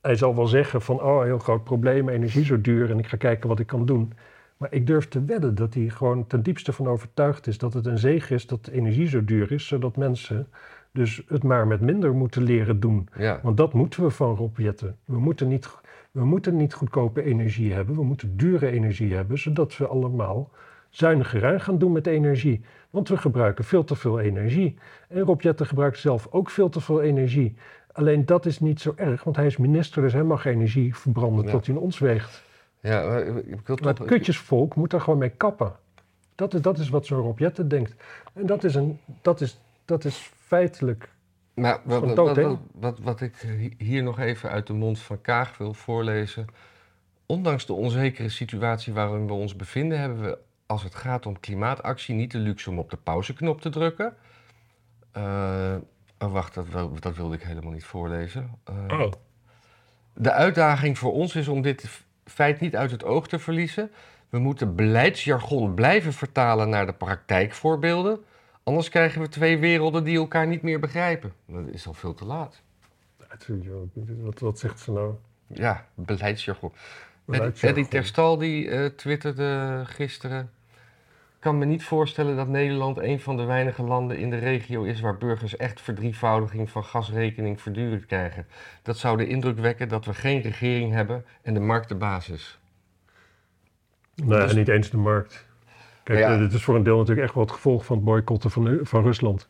[SPEAKER 1] hij zal wel zeggen van, oh, heel groot probleem, energie zo duur en ik ga kijken wat ik kan doen. Maar ik durf te wedden dat hij gewoon ten diepste van overtuigd is dat het een zegen is dat de energie zo duur is, zodat mensen dus het maar met minder moeten leren doen.
[SPEAKER 2] ja.
[SPEAKER 1] Want dat moeten we van Rob Jetten. We moeten niet, we moeten niet goedkope energie hebben, we moeten dure energie hebben, zodat we allemaal zuiniger aan gaan doen met energie. Want we gebruiken veel te veel energie. En Rob Jetten gebruikt zelf ook veel te veel energie. Alleen dat is niet zo erg, want hij is minister, dus hij mag energie verbranden
[SPEAKER 2] Ja.
[SPEAKER 1] tot hij in ons weegt.
[SPEAKER 2] Ja, maar ik- ik wil
[SPEAKER 1] Maar het
[SPEAKER 2] toch...
[SPEAKER 1] kutjesvolk moet daar gewoon mee kappen. Dat is, dat is wat zo'n Rob Jetten denkt. En dat is, een, dat is, dat is feitelijk
[SPEAKER 2] Maar wat,
[SPEAKER 1] Van
[SPEAKER 2] wat,
[SPEAKER 1] dood,
[SPEAKER 2] wat,
[SPEAKER 1] hè?
[SPEAKER 2] wat, wat ik hi- hier nog even uit de mond van Kaag wil voorlezen. Ondanks de onzekere situatie waarin we ons bevinden, hebben we als het gaat om klimaatactie niet de luxe om op de pauzeknop te drukken. Eh, oh, wacht, dat, wil- dat wilde ik helemaal niet voorlezen. Eh, de uitdaging voor ons is om dit f- feit niet uit het oog te verliezen. We moeten beleidsjargon blijven vertalen naar de praktijkvoorbeelden. Anders krijgen we twee werelden die elkaar niet meer begrijpen. Dat is al veel te laat.
[SPEAKER 1] Wat, wat zegt ze nou?
[SPEAKER 2] Ja, beleidsjargon. Eddie,
[SPEAKER 1] Beleidsjargon.
[SPEAKER 2] Eddie Terstal die eh, twitterde gisteren... Ik kan me niet voorstellen dat Nederland een van de weinige landen in de regio is... waar burgers echt verdrievoudiging van gasrekening verduurd krijgen. Dat zou de indruk wekken dat we geen regering hebben en de markt de baas is.
[SPEAKER 1] Nee,
[SPEAKER 2] Dus-
[SPEAKER 1] niet eens de markt. Kijk,
[SPEAKER 2] Nou ja.
[SPEAKER 1] eh, dit is voor een deel natuurlijk echt wel het gevolg van het boycotten van, U- van Rusland.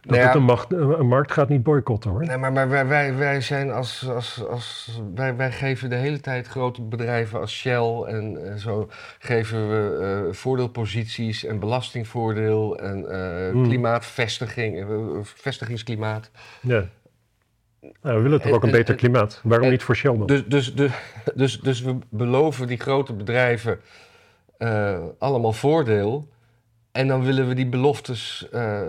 [SPEAKER 1] Dat
[SPEAKER 2] Nou ja.
[SPEAKER 1] het een, macht- eh, een- een markt gaat niet boycotten hoor.
[SPEAKER 2] Nee, maar, maar wij, wij, wij zijn als, als, als wij, wij geven de hele tijd grote bedrijven als Shell en, eh, zo geven we eh, voordeelposities en belastingvoordeel en eh,
[SPEAKER 1] Hmm.
[SPEAKER 2] klimaatvestiging, eh, vestigingsklimaat.
[SPEAKER 1] Ja. Nou, we willen toch ook een
[SPEAKER 2] En- en-
[SPEAKER 1] beter klimaat. Waarom
[SPEAKER 2] en-
[SPEAKER 1] niet voor Shell dan?
[SPEAKER 2] Dus, dus, dus, dus, dus we beloven die grote bedrijven eh, allemaal voordeel en dan willen we die beloftes eh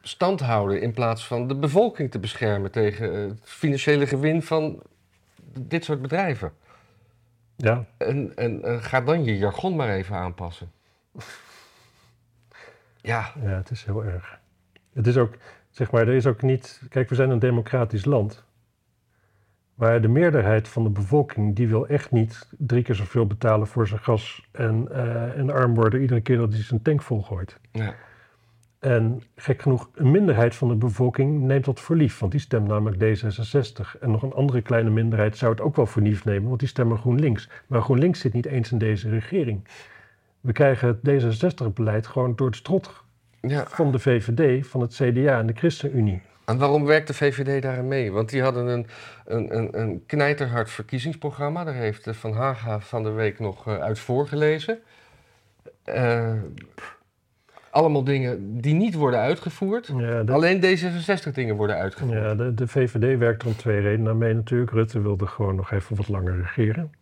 [SPEAKER 2] stand houden in plaats van de bevolking te beschermen tegen eh, het financiële gewin van dit soort bedrijven.
[SPEAKER 1] Ja.
[SPEAKER 2] En, en, eh, ga dan je jargon maar even aanpassen. Ja,
[SPEAKER 1] ja, het is heel erg. Het is ook, zeg maar, er is ook niet... Kijk, we zijn een democratisch land. Maar de meerderheid van de bevolking, die wil echt niet drie keer zoveel betalen voor zijn gas en, eh, en arm worden iedere keer dat hij zijn tank volgooit.
[SPEAKER 2] ja,
[SPEAKER 1] En gek genoeg, een minderheid van de bevolking neemt dat voor lief, want die stemt namelijk D66. En nog een andere kleine minderheid zou het ook wel voor lief nemen, want die stemmen GroenLinks. Maar GroenLinks zit niet eens in deze regering. We krijgen het D66-beleid gewoon door het strot
[SPEAKER 2] ja.
[SPEAKER 1] van de VVD, van het CDA en de ChristenUnie.
[SPEAKER 2] En waarom werkt de VVD daarin mee? Want die hadden een, een, een, een knijterhard verkiezingsprogramma. Daar heeft eh, Van Haga van de week nog eh, uit voorgelezen. Eh, allemaal dingen die niet worden uitgevoerd.
[SPEAKER 1] Ja, de,
[SPEAKER 2] Alleen D66 dingen worden uitgevoerd.
[SPEAKER 1] ja, de, de VVD werkt er om twee redenen mee natuurlijk. Rutte wilde gewoon nog even wat langer regeren.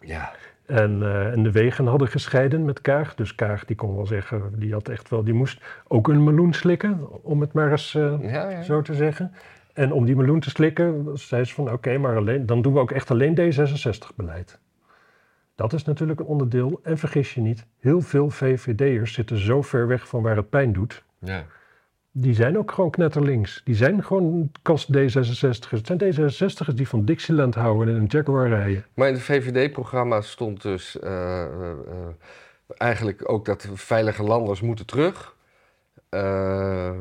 [SPEAKER 2] Ja.
[SPEAKER 1] En, eh, en de wegen hadden gescheiden met Kaag. Dus Kaag, die kon wel zeggen, die had echt wel, die moest ook een meloen slikken, om het maar eens eh,
[SPEAKER 2] Ja, ja.
[SPEAKER 1] zo te zeggen. En om die meloen te slikken, zei ze van oké, maar alleen, dan doen we ook echt alleen D66-beleid. Dat is natuurlijk een onderdeel. En vergis je niet, heel veel VVD'ers zitten zo ver weg van waar het pijn doet.
[SPEAKER 2] ja.
[SPEAKER 1] Die zijn ook gewoon knetterlinks. Die zijn gewoon kast D66'ers. Het zijn D66'ers die van Dixieland houden en een Jaguar rijden.
[SPEAKER 2] Maar in het VVD-programma stond dus eh, eh, eh, eigenlijk ook dat veilige landers moeten terug. Eh,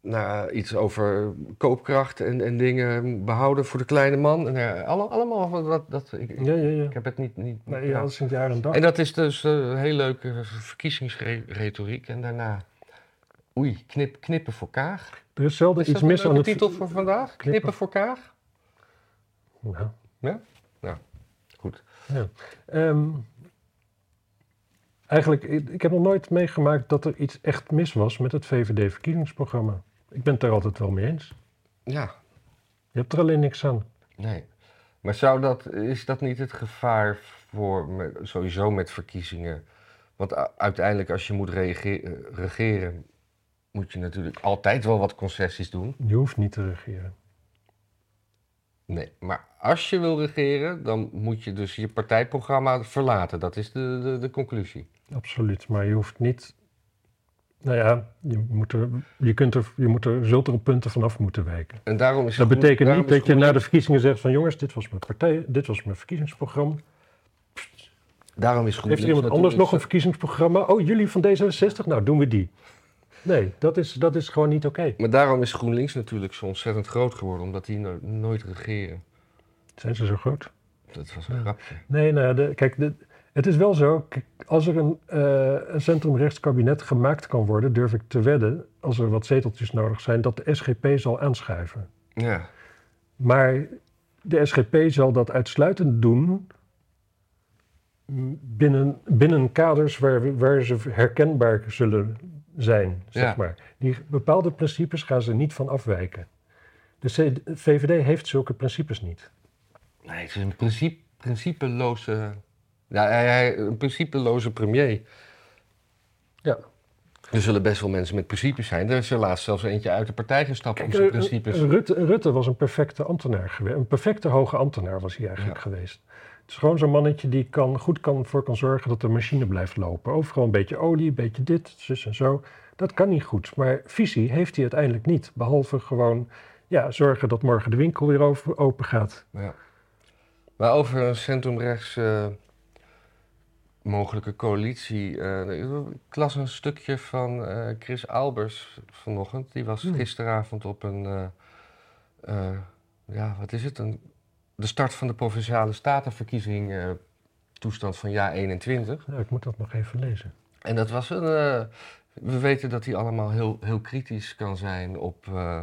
[SPEAKER 2] nou, iets over koopkracht en, en dingen behouden voor de kleine man. En, eh, alle- allemaal wat, wat dat, ik,
[SPEAKER 1] Ja, ja, ja.
[SPEAKER 2] ik heb het niet. niet
[SPEAKER 1] Nee, ja, dat is in het jaar en dag.
[SPEAKER 2] En dat is dus eh, heel leuke verkiezingsretoriek. En daarna, oei, knip, knippen voor Kaag.
[SPEAKER 1] Er is zelden
[SPEAKER 2] Is
[SPEAKER 1] iets
[SPEAKER 2] dat een
[SPEAKER 1] mis aan
[SPEAKER 2] leuke
[SPEAKER 1] het...
[SPEAKER 2] titel voor vandaag? Knippen,
[SPEAKER 1] Knippen.
[SPEAKER 2] voor Kaag?
[SPEAKER 1] Ja.
[SPEAKER 2] Ja? Nou, goed.
[SPEAKER 1] Ja. Ehm, eigenlijk, ik, ik heb nog nooit meegemaakt dat er iets echt mis was met het VVD-verkiezingsprogramma. Ik ben het daar altijd wel mee eens.
[SPEAKER 2] Ja,
[SPEAKER 1] Je hebt er alleen niks aan.
[SPEAKER 2] nee. Maar zou dat, is dat niet het gevaar voor me- sowieso met verkiezingen? Want u- uiteindelijk, als je moet reage- eh, regeren, moet je natuurlijk altijd wel wat concessies doen.
[SPEAKER 1] Je hoeft niet te regeren.
[SPEAKER 2] Nee, maar als je wil regeren, dan moet je dus je partijprogramma verlaten. Dat is de, de, de conclusie.
[SPEAKER 1] Absoluut, maar je hoeft niet. Nou ja, je, moet er, je, kunt er, je moet er, zult er op punten vanaf moeten wijken.
[SPEAKER 2] En daarom is
[SPEAKER 1] Dat
[SPEAKER 2] groen-
[SPEAKER 1] betekent
[SPEAKER 2] daarom
[SPEAKER 1] niet
[SPEAKER 2] is
[SPEAKER 1] dat je
[SPEAKER 2] groen-
[SPEAKER 1] na de verkiezingen zegt van jongens, dit was mijn partij, dit was mijn verkiezingsprogramma.
[SPEAKER 2] daarom is GroenLinks
[SPEAKER 1] Heeft er iemand anders nog een
[SPEAKER 2] natuurlijk-
[SPEAKER 1] verkiezingsprogramma? Oh, jullie van D66? Nou, doen we die. Nee, dat is, dat is gewoon niet oké.
[SPEAKER 2] Maar daarom is GroenLinks natuurlijk zo ontzettend groot geworden, omdat die no- nooit regeren.
[SPEAKER 1] Zijn ze zo groot?
[SPEAKER 2] Dat was een grapje.
[SPEAKER 1] Nee, nou ja, de- kijk, de- het is wel zo. Kijk, als er een, eh een centrumrechts kabinet gemaakt kan worden, durf ik te wedden, als er wat zeteltjes nodig zijn, dat de SGP zal aanschuiven.
[SPEAKER 2] Ja.
[SPEAKER 1] Maar de SGP zal dat uitsluitend doen m, binnen, binnen kaders waar, waar ze herkenbaar zullen zijn, zeg
[SPEAKER 2] Ja.
[SPEAKER 1] maar. Die bepaalde principes gaan ze niet van afwijken. De C- VVD heeft zulke principes niet.
[SPEAKER 2] Nee, het is een principe, principeloze. Ja, hij, hij- een principeloze premier.
[SPEAKER 1] Ja.
[SPEAKER 2] Er zullen best wel mensen met principes zijn. Er is er laatst zelfs eentje uit de partij gestapt om zijn
[SPEAKER 1] eh,
[SPEAKER 2] principes.
[SPEAKER 1] eh, Rutte, Rutte was een perfecte ambtenaar geweest. Een perfecte hoge ambtenaar was hij eigenlijk geweest. Het is gewoon zo'n mannetje die kan, goed kan, voor kan zorgen dat de machine blijft lopen. Overal een beetje olie, een beetje dit, zus en zo. Dat kan niet goed. Maar visie heeft hij uiteindelijk niet. Behalve gewoon ja, zorgen dat morgen de winkel weer over- open gaat.
[SPEAKER 2] Ja. Maar over een centrumrechts eh, mogelijke coalitie. eh, ik las een stukje van eh, Chris Albers vanochtend. Die was
[SPEAKER 1] Hmm.
[SPEAKER 2] gisteravond op een. eh, eh, ja, wat is het? Een, de start van de provinciale statenverkiezing. eh, toestand van jaar 21.
[SPEAKER 1] Nou, ik moet dat nog even lezen.
[SPEAKER 2] En dat was een. eh, we weten dat hij allemaal heel, heel kritisch kan zijn op eh,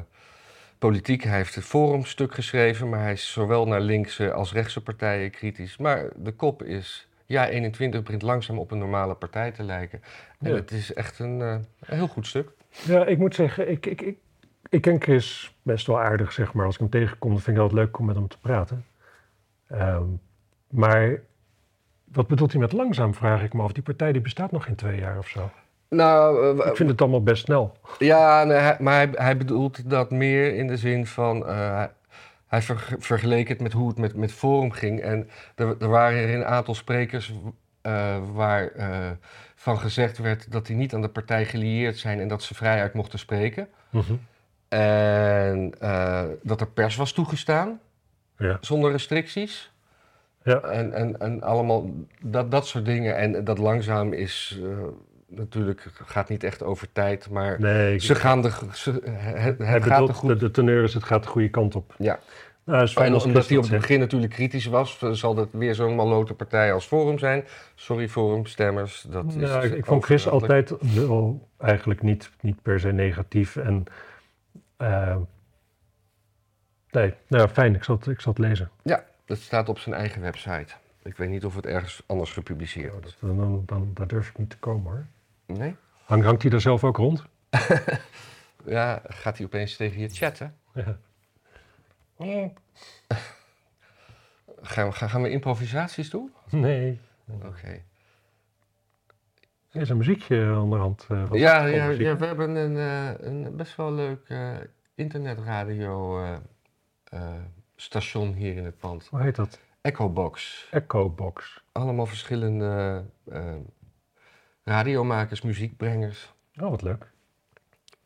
[SPEAKER 2] politiek. Hij heeft het forumstuk geschreven, maar hij is zowel naar linkse als rechtse partijen kritisch. Maar de kop is. Ja, 21 begint langzaam op een normale partij te lijken. En
[SPEAKER 1] Ja.
[SPEAKER 2] het is echt een, eh, een heel goed stuk.
[SPEAKER 1] Ja, ik moet zeggen, ik, ik, ik, ik ken Chris best wel aardig, zeg maar. Als ik hem tegenkom, dan vind ik het altijd leuk om met hem te praten. Ehm, maar wat bedoelt hij met langzaam, vraag ik me af. Die partij die bestaat nog geen twee jaar of zo.
[SPEAKER 2] Nou, eh,
[SPEAKER 1] Ik vind het allemaal best snel.
[SPEAKER 2] Ja, nee, hij- maar hij, hij bedoelt dat meer in de zin van. eh, hij ver- vergeleek het met hoe het met, met Forum ging. En er, er waren er een aantal sprekers eh, waar eh, van gezegd werd dat die niet aan de partij gelieerd zijn en dat ze vrijuit mochten spreken. En eh, dat er pers was toegestaan
[SPEAKER 1] Ja.
[SPEAKER 2] zonder restricties.
[SPEAKER 1] Ja.
[SPEAKER 2] En, en, en allemaal dat, dat soort dingen. En dat langzaam is eh, natuurlijk, gaat niet echt over tijd, maar.
[SPEAKER 1] Nee, ik-
[SPEAKER 2] Ze gaan de, g- ze, het, het
[SPEAKER 1] hij
[SPEAKER 2] gaat de
[SPEAKER 1] bedoelt,
[SPEAKER 2] goed.
[SPEAKER 1] de, de teneur is, het gaat de goede kant op.
[SPEAKER 2] Ja.
[SPEAKER 1] Nou, dat is fijn
[SPEAKER 2] En
[SPEAKER 1] als
[SPEAKER 2] omdat
[SPEAKER 1] Chris
[SPEAKER 2] hij op
[SPEAKER 1] dat zegt.
[SPEAKER 2] het begin natuurlijk kritisch was, eh, zal dat weer zo'n malote partij als Forum zijn. Sorry Forum, stemmers. Dat is eh,
[SPEAKER 1] Nou, ik, ik vond Chris
[SPEAKER 2] overduidelijk.
[SPEAKER 1] altijd wel eigenlijk niet, niet per se negatief. En, eh, nee, nou, fijn, ik zal, het- ik zal het lezen.
[SPEAKER 2] Ja, dat staat op zijn eigen website. Ik weet niet of het ergens anders gepubliceerd
[SPEAKER 1] Ja,
[SPEAKER 2] wordt.
[SPEAKER 1] dat, dan, dan, dan- daar durf ik niet te komen hoor.
[SPEAKER 2] Nee?
[SPEAKER 1] Hang, hangt hij daar zelf ook rond?
[SPEAKER 2] Ja, gaat hij opeens tegen je chatten?
[SPEAKER 1] Ja.
[SPEAKER 2] Nee. gaan, we, gaan we improvisaties doen?
[SPEAKER 1] Nee.
[SPEAKER 2] Oké.
[SPEAKER 1] Er is een muziekje onderhand. eh, wat-
[SPEAKER 2] Ja,
[SPEAKER 1] wat
[SPEAKER 2] ja,
[SPEAKER 1] muziek.
[SPEAKER 2] ja, we hebben een, eh, een best wel leuk eh, internetradio eh, eh, station hier in het pand.
[SPEAKER 1] Hoe heet dat?
[SPEAKER 2] Echobox.
[SPEAKER 1] Echo Box.
[SPEAKER 2] Allemaal verschillende eh, radiomakers, muziekbrengers.
[SPEAKER 1] Oh, wat leuk.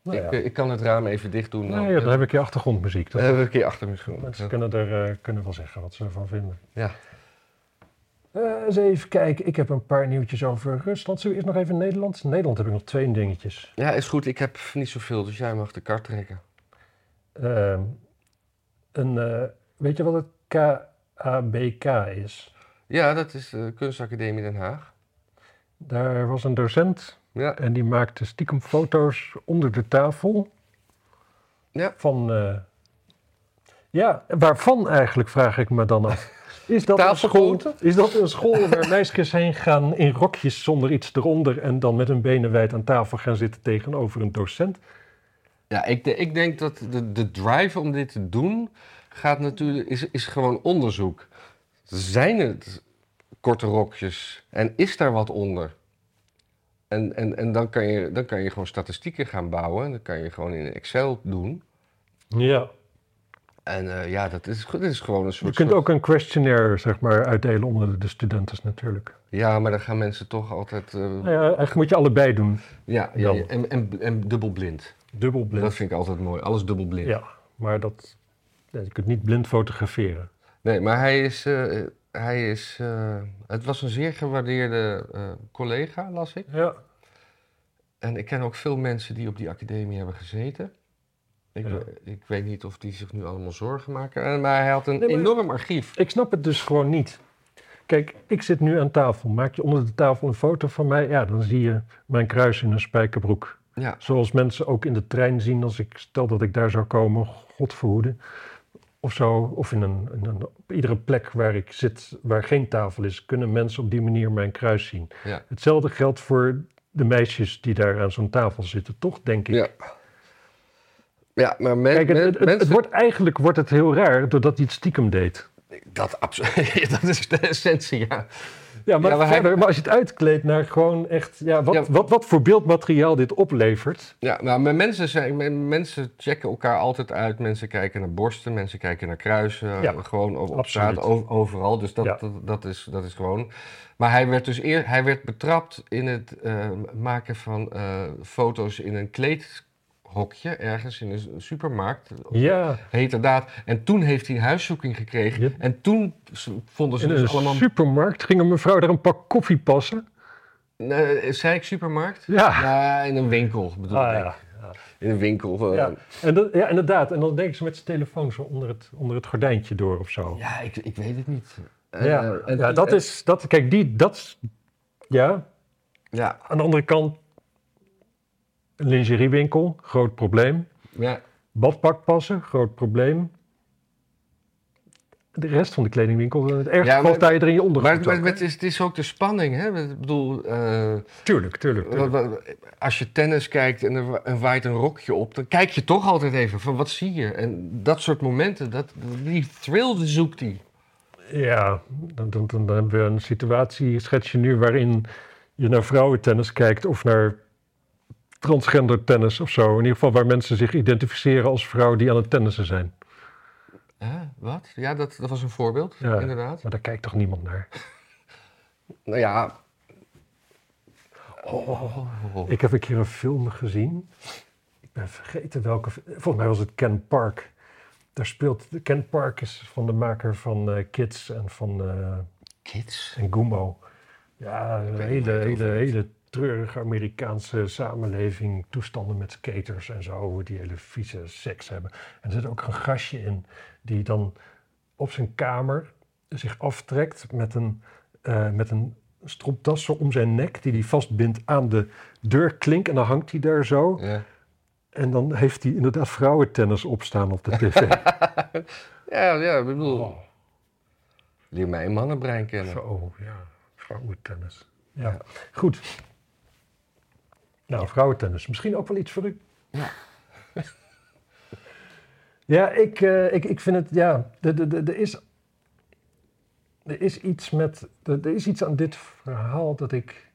[SPEAKER 1] Nou
[SPEAKER 2] ik,
[SPEAKER 1] ja.
[SPEAKER 2] eh, ik kan het Eh, raam even dicht doen. eh,
[SPEAKER 1] Nou ja, dan heb ik je achtergrondmuziek. Dat-
[SPEAKER 2] we hebben een keer achter me schoen.
[SPEAKER 1] mensen kunnen er eh, kunnen wel zeggen wat ze ervan vinden.
[SPEAKER 2] Ja.
[SPEAKER 1] Eh, eens even kijken. Ik heb een paar nieuwtjes over Rusland. Zullen we eerst nog even Nederland? In Nederland heb ik nog twee dingetjes.
[SPEAKER 2] ja, is goed. Ik heb niet zoveel, dus jij mag de kar trekken.
[SPEAKER 1] Ehm, een, eh, weet je wat het KABK is?
[SPEAKER 2] Ja, dat is de Kunstacademie Den Haag.
[SPEAKER 1] Daar was een docent
[SPEAKER 2] Ja,
[SPEAKER 1] en die maakte stiekem foto's onder de tafel
[SPEAKER 2] Ja.
[SPEAKER 1] van eh, Ja, waarvan eigenlijk vraag ik me dan af. Is dat, een school,
[SPEAKER 2] Tafelpoten?
[SPEAKER 1] is dat een school waar meisjes heen gaan in rokjes zonder iets eronder en dan met hun benen wijd aan tafel gaan zitten tegenover een docent?
[SPEAKER 2] Ja, ik, de- ik denk dat de, de drive om dit te doen gaat natuurlijk, is, is gewoon onderzoek. Zijn het korte rokjes en is daar wat onder? En, en, en dan, kan je, dan kan je gewoon statistieken gaan bouwen. Dan kan je gewoon in Excel doen.
[SPEAKER 1] Ja.
[SPEAKER 2] En eh, ja, dat is, dat is gewoon een soort...
[SPEAKER 1] Je kunt
[SPEAKER 2] soort-
[SPEAKER 1] ook een questionnaire zeg maar, uitdelen onder de studenten natuurlijk.
[SPEAKER 2] Ja, maar dan gaan mensen toch altijd... eh,
[SPEAKER 1] Nou ja, eigenlijk moet je allebei doen.
[SPEAKER 2] ja, ja,
[SPEAKER 1] Jammer.
[SPEAKER 2] en, en, en dubbelblind.
[SPEAKER 1] Dubbel
[SPEAKER 2] Dat
[SPEAKER 1] blind.
[SPEAKER 2] vind ik altijd mooi. Alles dubbelblind.
[SPEAKER 1] Ja, maar dat, ja, je kunt niet blind fotograferen.
[SPEAKER 2] Nee, maar hij is. eh, hij is eh, het was een zeer gewaardeerde eh, collega, las ik.
[SPEAKER 1] Ja.
[SPEAKER 2] En ik ken ook veel mensen die op die academie hebben gezeten. Ik,
[SPEAKER 1] Ja.
[SPEAKER 2] we- ik weet niet of die zich nu allemaal zorgen maken. Eh, Maar hij had een
[SPEAKER 1] Nee, maar-
[SPEAKER 2] enorm archief.
[SPEAKER 1] Ik snap het dus gewoon niet. Kijk, ik zit nu aan tafel. Maak je onder de tafel een foto van mij? Ja, dan zie je mijn kruis in een spijkerbroek.
[SPEAKER 2] Ja,
[SPEAKER 1] Zoals mensen ook in de trein zien als ik stel dat ik daar zou komen, God verhoede. Of zo, of in een, in een- op iedere plek waar ik zit, waar geen tafel is, kunnen mensen op die manier mijn kruis zien.
[SPEAKER 2] ja.
[SPEAKER 1] Hetzelfde geldt voor de meisjes die daar aan zo'n tafel zitten, toch, denk ik.
[SPEAKER 2] Ja, ja maar men-
[SPEAKER 1] Kijk, het,
[SPEAKER 2] men-
[SPEAKER 1] het, het- het
[SPEAKER 2] mensen...
[SPEAKER 1] wordt, eigenlijk wordt het heel raar doordat hij het stiekem deed.
[SPEAKER 2] dat, absolu- dat is de essentie, ja.
[SPEAKER 1] Ja, maar,
[SPEAKER 2] Ja, maar hij-
[SPEAKER 1] verder, maar als je het uitkleedt naar gewoon echt, ja, wat,
[SPEAKER 2] Ja.
[SPEAKER 1] Wat, wat voor beeldmateriaal dit oplevert.
[SPEAKER 2] Ja, nou, maar mensen, zijn, men- mensen checken elkaar altijd uit. Mensen kijken naar borsten, mensen kijken naar kruisen.
[SPEAKER 1] Ja,
[SPEAKER 2] gewoon op, op
[SPEAKER 1] absoluut.
[SPEAKER 2] straat, o- overal. Dus dat,
[SPEAKER 1] Ja.
[SPEAKER 2] dat, dat is, dat is gewoon. Maar hij werd dus eer, hij werd betrapt in het eh, maken van eh, foto's in een kleedhokje. Ergens in een s- supermarkt.
[SPEAKER 1] Ja,
[SPEAKER 2] Heet daad. En toen heeft hij een huiszoeking gekregen.
[SPEAKER 1] Ja.
[SPEAKER 2] En toen s- vonden ze
[SPEAKER 1] in een
[SPEAKER 2] dus allemaal...
[SPEAKER 1] supermarkt ging een mevrouw daar een pak koffie passen.
[SPEAKER 2] Nee, zei ik supermarkt?
[SPEAKER 1] Ja.
[SPEAKER 2] Ja, in een winkel bedoel
[SPEAKER 1] Ah,
[SPEAKER 2] ik.
[SPEAKER 1] ja.
[SPEAKER 2] In een winkel. eh,
[SPEAKER 1] Ja, en dat, ja, inderdaad. En dan denken ze met zijn telefoon zo onder het, onder het gordijntje door of zo.
[SPEAKER 2] Ja, ik, ik weet het niet.
[SPEAKER 1] Ja,
[SPEAKER 2] Eh, en-
[SPEAKER 1] ja dat
[SPEAKER 2] en-
[SPEAKER 1] is, dat, kijk, die, dat is, ja,
[SPEAKER 2] Ja,
[SPEAKER 1] aan de andere kant, een lingeriewinkel, groot probleem.
[SPEAKER 2] ja,
[SPEAKER 1] Badpak passen, groot probleem. De rest van de kledingwinkel, in het ergste
[SPEAKER 2] Ja,
[SPEAKER 1] geval
[SPEAKER 2] maar-
[SPEAKER 1] sta je er in je
[SPEAKER 2] maar,
[SPEAKER 1] ondergoed.
[SPEAKER 2] maar
[SPEAKER 1] ook,
[SPEAKER 2] het, is, het is ook de spanning, hè? Ik bedoel, eh,
[SPEAKER 1] hè? tuurlijk, tuurlijk.
[SPEAKER 2] wat-
[SPEAKER 1] tuurlijk.
[SPEAKER 2] wat- als je tennis kijkt en er wa- en waait een rokje op, dan kijk je toch altijd even van wat zie je? En dat soort momenten, dat, die thrill die zoekt hij.
[SPEAKER 1] Ja, dan, dan, dan hebben we een situatie, schets je nu, waarin je naar vrouwentennis kijkt of naar transgender tennis of zo. In ieder geval waar mensen zich identificeren als vrouw die aan het tennissen zijn.
[SPEAKER 2] Hè, wat? Ja, dat, dat was een voorbeeld,
[SPEAKER 1] Ja.
[SPEAKER 2] inderdaad.
[SPEAKER 1] Maar daar kijkt toch niemand naar?
[SPEAKER 2] Nou ja,
[SPEAKER 1] Ik heb een keer een film gezien. Ik ben vergeten welke. fi- Volgens mij was het Ken Park. Daar speelt. Ken Park is van de maker van eh, Kids en van eh,
[SPEAKER 2] kids.
[SPEAKER 1] en Gumbo. Ja, een
[SPEAKER 2] weet
[SPEAKER 1] hele,
[SPEAKER 2] niet of
[SPEAKER 1] hele,
[SPEAKER 2] ik-
[SPEAKER 1] hele treurige Amerikaanse samenleving. Toestanden met skaters en zo, die hele vieze seks hebben. En er zit ook een gastje in die dan op zijn kamer zich aftrekt met een, eh met een stropdas zo om zijn nek, die hij vastbindt aan de deurklink. En dan hangt hij daar zo.
[SPEAKER 2] Ja.
[SPEAKER 1] En dan heeft hij inderdaad vrouwentennis opstaan op de tv.
[SPEAKER 2] Ja, ja, ik bedoel,
[SPEAKER 1] Oh.
[SPEAKER 2] leer mij een mannenbrein kennen.
[SPEAKER 1] Zo, oh, ja. Vrouwentennis. Ja. goed. Nou, vrouwentennis. Misschien ook wel iets voor u.
[SPEAKER 2] Ja.
[SPEAKER 1] ja, ik, eh, ik, ik vind het, ja, er- er- er er is, er is iets met, er er is iets aan dit verhaal dat ik,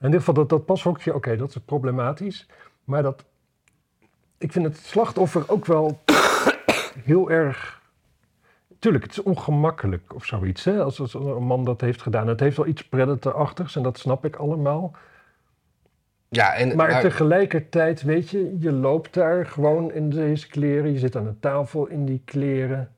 [SPEAKER 1] in dit geval dat, dat pashokje, oké, dat is problematisch, maar dat, ik vind het slachtoffer ook wel heel erg Tuurlijk, het is ongemakkelijk of zoiets. Hè? Als, als een man dat heeft gedaan. Het heeft wel iets predatorachtigs en dat snap ik allemaal.
[SPEAKER 2] Ja, en,
[SPEAKER 1] Maar tegelijkertijd, weet je, je loopt daar gewoon in deze kleren. Je zit aan een tafel in die kleren.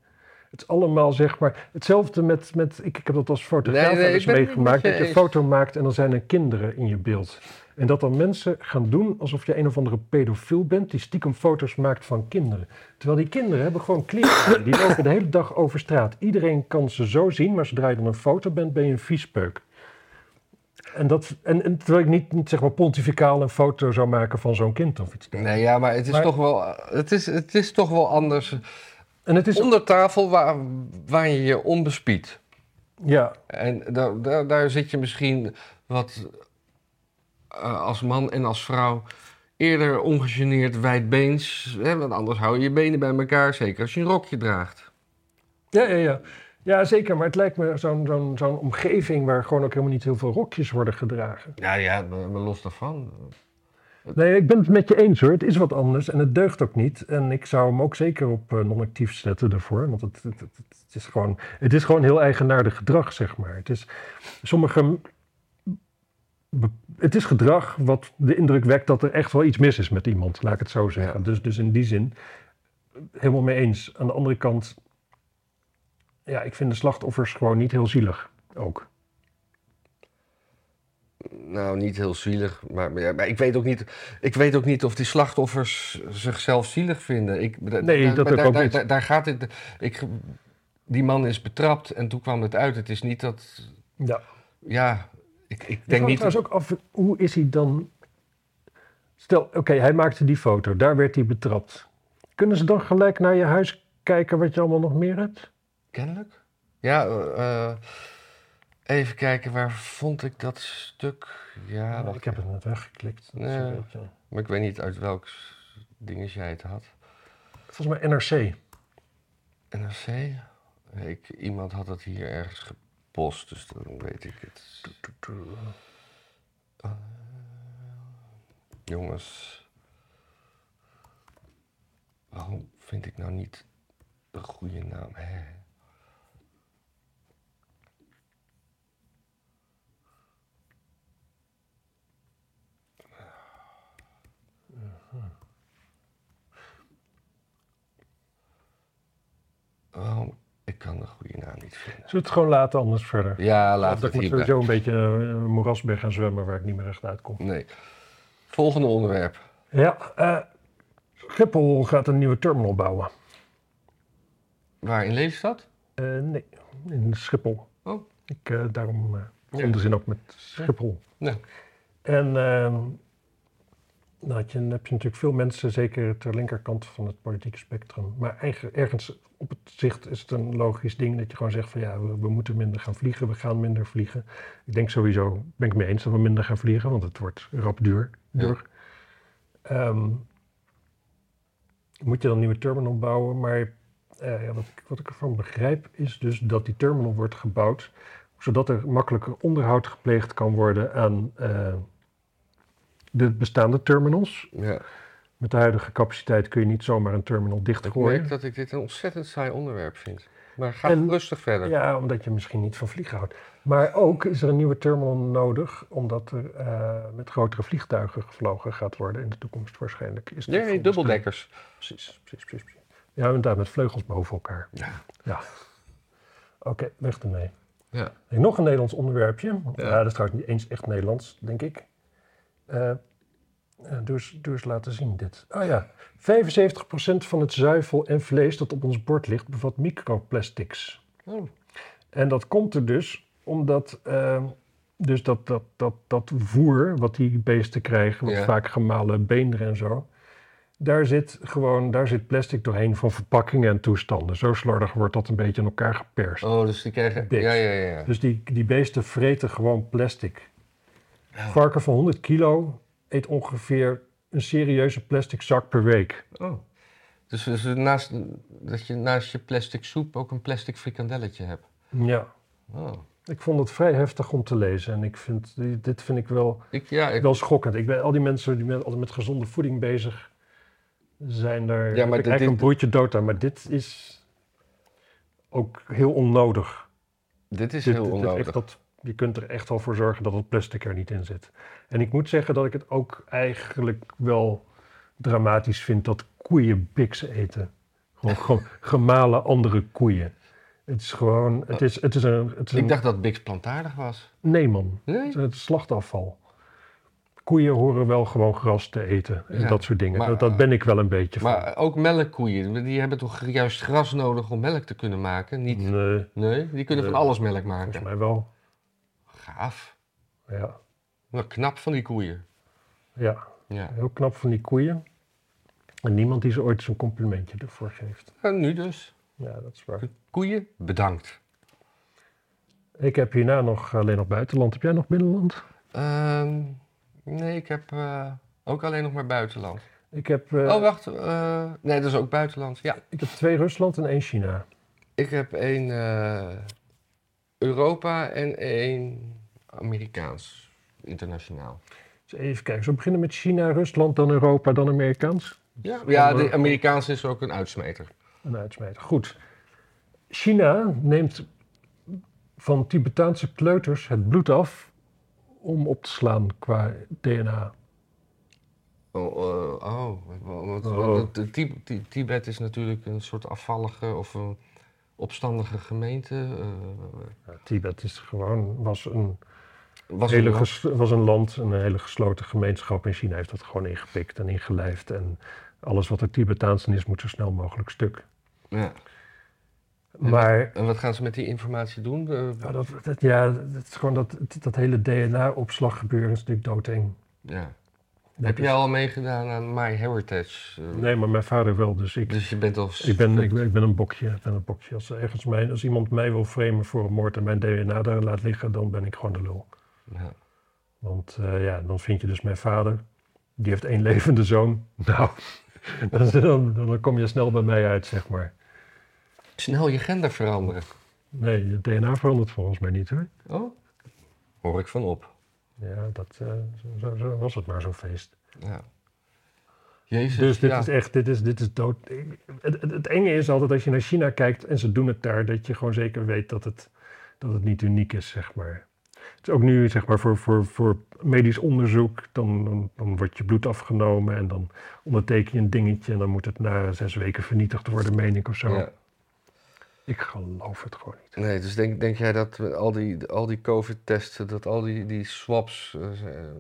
[SPEAKER 1] Het is allemaal zeg maar hetzelfde met. met ik, ik heb dat als fotograaf
[SPEAKER 2] Nee, nee,
[SPEAKER 1] wel eens
[SPEAKER 2] ik ben het niet
[SPEAKER 1] meegemaakt. Dat
[SPEAKER 2] met je
[SPEAKER 1] je een
[SPEAKER 2] eens.
[SPEAKER 1] foto maakt en dan zijn er kinderen in je beeld. En dat dan mensen gaan doen alsof je een of andere pedofiel bent die stiekem foto's maakt van kinderen. Terwijl die kinderen hebben gewoon kleren. aan. Die lopen de hele dag over straat. Iedereen kan ze zo zien, maar zodra je dan een foto bent, ben je een viespeuk. En, dat, en, en terwijl ik niet, niet zeg maar pontificaal een foto zou maken van zo'n kind of iets.
[SPEAKER 2] Nee, ja, maar het is
[SPEAKER 1] Maar-
[SPEAKER 2] toch wel, het is, het is toch wel anders
[SPEAKER 1] En het is,
[SPEAKER 2] Onder tafel waar, waar je je onbespiedt.
[SPEAKER 1] ja,
[SPEAKER 2] En daar, daar, daar zit je misschien wat eh, als man en als vrouw eerder ongegeneerd wijdbeens. Hè, want anders hou je je benen bij elkaar, zeker als je een rokje draagt.
[SPEAKER 1] Ja, ja, ja. Ja, zeker. Maar het lijkt me zo'n zo'n zo'n omgeving waar gewoon ook helemaal niet heel veel rokjes worden gedragen.
[SPEAKER 2] Ja, ja, maar maar los daarvan.
[SPEAKER 1] Nee, ik ben het met je eens hoor. Het is wat anders en het deugt ook niet. En ik zou hem ook zeker op eh, non-actief zetten daarvoor. Want het, het, het, het is gewoon, het is gewoon heel eigenaardig gedrag, zeg maar. Het is, sommige, be- het is gedrag wat de indruk wekt dat er echt wel iets mis is met iemand, laat ik het zo zeggen. Dus, dus in die zin helemaal mee eens. Aan de andere kant, ja, ik vind de slachtoffers gewoon niet heel zielig ook.
[SPEAKER 2] Nou, niet heel zielig. Maar, maar, ja, maar ik, weet ook niet, ik weet ook niet of die slachtoffers zichzelf zielig vinden. Ik, da-
[SPEAKER 1] Nee,
[SPEAKER 2] daar-
[SPEAKER 1] dat ook
[SPEAKER 2] daar,
[SPEAKER 1] ook
[SPEAKER 2] daar,
[SPEAKER 1] niet.
[SPEAKER 2] Daar, daar gaat het. Ik, die man is betrapt en toen kwam het uit. Het is niet dat.
[SPEAKER 1] Ja.
[SPEAKER 2] Ja, ik, ik
[SPEAKER 1] Ik
[SPEAKER 2] denk
[SPEAKER 1] vraag me
[SPEAKER 2] niet.
[SPEAKER 1] trouwens ook af, hoe is hij dan... Stel, oké, hij maakte die foto, daar werd hij betrapt. Kunnen ze dan gelijk naar je huis kijken wat je allemaal nog meer hebt?
[SPEAKER 2] Kennelijk? Ja, eh, eh, even kijken, waar vond ik dat stuk? Ja, wacht
[SPEAKER 1] ik heb het net weggeklikt. Dat is
[SPEAKER 2] Ja.
[SPEAKER 1] een beetje-
[SPEAKER 2] Maar ik weet niet uit welk s- dingetje jij het had.
[SPEAKER 1] Volgens mij NRC.
[SPEAKER 2] NRC? Ik, iemand had dat hier ergens gepost, dus dan weet ik het. Eh, Jongens, waarom vind ik nou niet de goede naam? Hè? Waarom? Ik kan de goede naam niet vinden.
[SPEAKER 1] Zullen we het gewoon laten, anders verder?
[SPEAKER 2] Ja,
[SPEAKER 1] Want
[SPEAKER 2] laat
[SPEAKER 1] ik
[SPEAKER 2] het
[SPEAKER 1] moet
[SPEAKER 2] hierbij.
[SPEAKER 1] sowieso een beetje eh, moeras ben gaan zwemmen waar ik niet meer echt uitkom.
[SPEAKER 2] Nee. Volgende onderwerp.
[SPEAKER 1] Ja, eh Schiphol gaat een nieuwe terminal bouwen.
[SPEAKER 2] Waar in Lelystad?
[SPEAKER 1] Eh, nee, in Schiphol.
[SPEAKER 2] Oh.
[SPEAKER 1] Ik, eh, daarom eh
[SPEAKER 2] Ja.
[SPEAKER 1] in de zin ook met Schiphol.
[SPEAKER 2] Ja.
[SPEAKER 1] En ehm dan had je, heb je natuurlijk veel mensen, zeker ter linkerkant van het politieke spectrum. Maar eigen, ergens op het zicht is het een logisch ding dat je gewoon zegt van ja, we, we moeten minder gaan vliegen, we gaan minder vliegen. Ik denk sowieso, ben ik mee eens dat we minder gaan vliegen, want het wordt rap duur. duur. Ehm, moet je dan een nieuwe terminal bouwen, maar eh, ja, wat, ik, wat ik ervan begrijp is dus dat die terminal wordt gebouwd zodat er makkelijker onderhoud gepleegd kan worden aan eh, de bestaande terminals.
[SPEAKER 2] ja.
[SPEAKER 1] Met de huidige capaciteit kun je niet zomaar een terminal
[SPEAKER 2] Ik
[SPEAKER 1] dichtgooien.
[SPEAKER 2] merk dat ik dit een ontzettend saai onderwerp vind. Maar ga
[SPEAKER 1] En-
[SPEAKER 2] rustig verder.
[SPEAKER 1] Ja, omdat je misschien niet van vliegen houdt. Maar ook is er een nieuwe terminal nodig, omdat er eh, met grotere vliegtuigen gevlogen gaat worden in de toekomst waarschijnlijk. Is dat
[SPEAKER 2] Nee,
[SPEAKER 1] volgens-
[SPEAKER 2] dubbeldekkers.
[SPEAKER 1] Precies, precies, precies. precies. Ja, en daar met vleugels boven elkaar.
[SPEAKER 2] Ja.
[SPEAKER 1] ja. Oké, weg ermee.
[SPEAKER 2] Ja.
[SPEAKER 1] Hey, nog een Nederlands onderwerpje. Ja.
[SPEAKER 2] Ja.
[SPEAKER 1] dat is trouwens niet eens echt Nederlands, denk ik. Eh, eh, doe, eens, doe eens laten zien dit. Ah ja, 75% van het zuivel en vlees dat op ons bord ligt bevat microplastics.
[SPEAKER 2] Oh.
[SPEAKER 1] En dat komt er dus omdat eh, dus dat, dat, dat, dat voer wat die beesten krijgen, wat
[SPEAKER 2] Ja.
[SPEAKER 1] vaak gemalen beenderen en zo, daar zit gewoon daar zit plastic doorheen van verpakkingen en toestanden. Zo slordig wordt dat een beetje in elkaar geperst.
[SPEAKER 2] Oh, dus die krijgen...
[SPEAKER 1] Dik.
[SPEAKER 2] Ja, ja, ja.
[SPEAKER 1] Dus die, die beesten vreten gewoon plastic. Een Varken van 100 kilo eet ongeveer een serieuze plastic zak per week.
[SPEAKER 2] Oh. Dus, dus naast, dat je naast je plastic soep ook een plastic frikandelletje hebt.
[SPEAKER 1] Ja,
[SPEAKER 2] Oh.
[SPEAKER 1] ik vond het vrij heftig om te lezen. En ik vind, dit vind ik wel,
[SPEAKER 2] Ik, ja, ik,
[SPEAKER 1] wel schokkend. Ik ben al die mensen die met, altijd met gezonde voeding bezig zijn, daar heb ik
[SPEAKER 2] maar dit-
[SPEAKER 1] eigenlijk een
[SPEAKER 2] dit-
[SPEAKER 1] broertje dood aan. Maar dit is ook heel onnodig.
[SPEAKER 2] dit is
[SPEAKER 1] Dit-
[SPEAKER 2] heel
[SPEAKER 1] dit- dit
[SPEAKER 2] onnodig.
[SPEAKER 1] echt dat, je kunt er echt wel voor zorgen dat het plastic er niet in zit. En ik moet zeggen dat ik het ook eigenlijk wel dramatisch vind dat koeien biksen eten. Gewoon ge- gemalen andere koeien. Het is gewoon, het is, het is een, het is
[SPEAKER 2] Ik
[SPEAKER 1] een
[SPEAKER 2] dacht dat Bix plantaardig was.
[SPEAKER 1] nee man,
[SPEAKER 2] Nee?
[SPEAKER 1] het is het slachtafval. Koeien horen wel gewoon gras te eten en
[SPEAKER 2] Ja,
[SPEAKER 1] dat soort dingen.
[SPEAKER 2] maar- eh,
[SPEAKER 1] dat, dat ben ik wel een beetje van.
[SPEAKER 2] Maar ook melkkoeien, die hebben toch juist gras nodig om melk te kunnen maken? Niet, nee,
[SPEAKER 1] Nee,
[SPEAKER 2] die kunnen van
[SPEAKER 1] Nee.
[SPEAKER 2] alles melk
[SPEAKER 1] volgens
[SPEAKER 2] maken.
[SPEAKER 1] mij wel.
[SPEAKER 2] Gaaf.
[SPEAKER 1] Ja,
[SPEAKER 2] Wat knap van die koeien.
[SPEAKER 1] ja,
[SPEAKER 2] Ja.
[SPEAKER 1] heel knap van die koeien. En niemand die ze ooit zo'n complimentje ervoor geeft.
[SPEAKER 2] Nou, nu dus.
[SPEAKER 1] ja, dat is waar.
[SPEAKER 2] Koeien, bedankt.
[SPEAKER 1] Ik heb hierna nog alleen nog buitenland. Heb jij nog binnenland?
[SPEAKER 2] Ehm, nee, ik heb eh, ook alleen nog maar buitenland.
[SPEAKER 1] Ik heb, eh,
[SPEAKER 2] oh, wacht. eh, nee, dat is ook buitenland. Ja,
[SPEAKER 1] ik heb twee Rusland en één China.
[SPEAKER 2] ik heb één eh, Europa en één Amerikaans. Internationaal.
[SPEAKER 1] Dus even kijken. Zullen we beginnen met China, Rusland, dan Europa, dan Amerikaans?
[SPEAKER 2] Ja, ja
[SPEAKER 1] dan,
[SPEAKER 2] de
[SPEAKER 1] eh,
[SPEAKER 2] Amerikaans is ook een uitsmeter.
[SPEAKER 1] Een uitsmijter. Goed. China neemt van Tibetaanse kleuters het bloed af om op te slaan qua DNA.
[SPEAKER 2] Oh, eh, oh, wat- wat-
[SPEAKER 1] Oh.
[SPEAKER 2] want het- het Ti- Ti- Tibet is natuurlijk een soort afvallige of een opstandige gemeente. eh,
[SPEAKER 1] Ja, Tibet is gewoon, was, een
[SPEAKER 2] was
[SPEAKER 1] hele
[SPEAKER 2] een-
[SPEAKER 1] ges- was een land, een hele gesloten gemeenschap. En China heeft dat gewoon ingepikt en ingelijfd. En alles wat er Tibetaans in is, moet zo snel mogelijk stuk.
[SPEAKER 2] ja.
[SPEAKER 1] Maar
[SPEAKER 2] En wat gaan ze met die informatie doen? Eh,
[SPEAKER 1] ja, dat, dat- ja, dat, is gewoon dat, dat hele DNA-opslaggebeuren is natuurlijk doodeng.
[SPEAKER 2] ja.
[SPEAKER 1] Dat
[SPEAKER 2] Heb
[SPEAKER 1] is-
[SPEAKER 2] jij al meegedaan aan My Heritage? Eh,
[SPEAKER 1] Nee, maar mijn vader wel, dus ik...
[SPEAKER 2] Dus je bent al... s-
[SPEAKER 1] Ik ben, ik, ben- ik ben een bokje. Ik ben een bokje. Als, ergens mijn, als iemand mij wil framen voor een moord en mijn DNA daar laat liggen, dan ben ik gewoon de lul.
[SPEAKER 2] Ja.
[SPEAKER 1] Want eh, ja, dan vind je dus mijn vader. Die heeft één levende zoon. Nou, dan, dan, dan kom je snel bij mij uit, zeg maar.
[SPEAKER 2] Snel je gender veranderen.
[SPEAKER 1] Nee, het DNA verandert volgens mij niet hoor.
[SPEAKER 2] Oh? Hoor ik van op.
[SPEAKER 1] Ja, dat, eh, zo, zo, zo was het maar zo'n feest.
[SPEAKER 2] Ja. Jezus,
[SPEAKER 1] Dus dit
[SPEAKER 2] ja.
[SPEAKER 1] is echt, dit is, dit is dood. ik- Het, het, het enge is altijd als je naar China kijkt en ze doen het daar, dat je gewoon zeker weet dat het, dat het niet uniek is, zeg maar. Het is ook nu, zeg maar, voor, voor, voor medisch onderzoek, dan, dan, dan wordt je bloed afgenomen en dan onderteken je een dingetje en dan moet het na zes weken vernietigd worden, meen ik of zo.
[SPEAKER 2] Ja.
[SPEAKER 1] Ik geloof het gewoon niet.
[SPEAKER 2] Nee, dus denk, denk jij dat we al die, al die COVID-testen, dat al die, die swaps eh, zijn-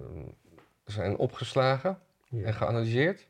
[SPEAKER 2] zijn opgeslagen
[SPEAKER 1] Ja.
[SPEAKER 2] en geanalyseerd?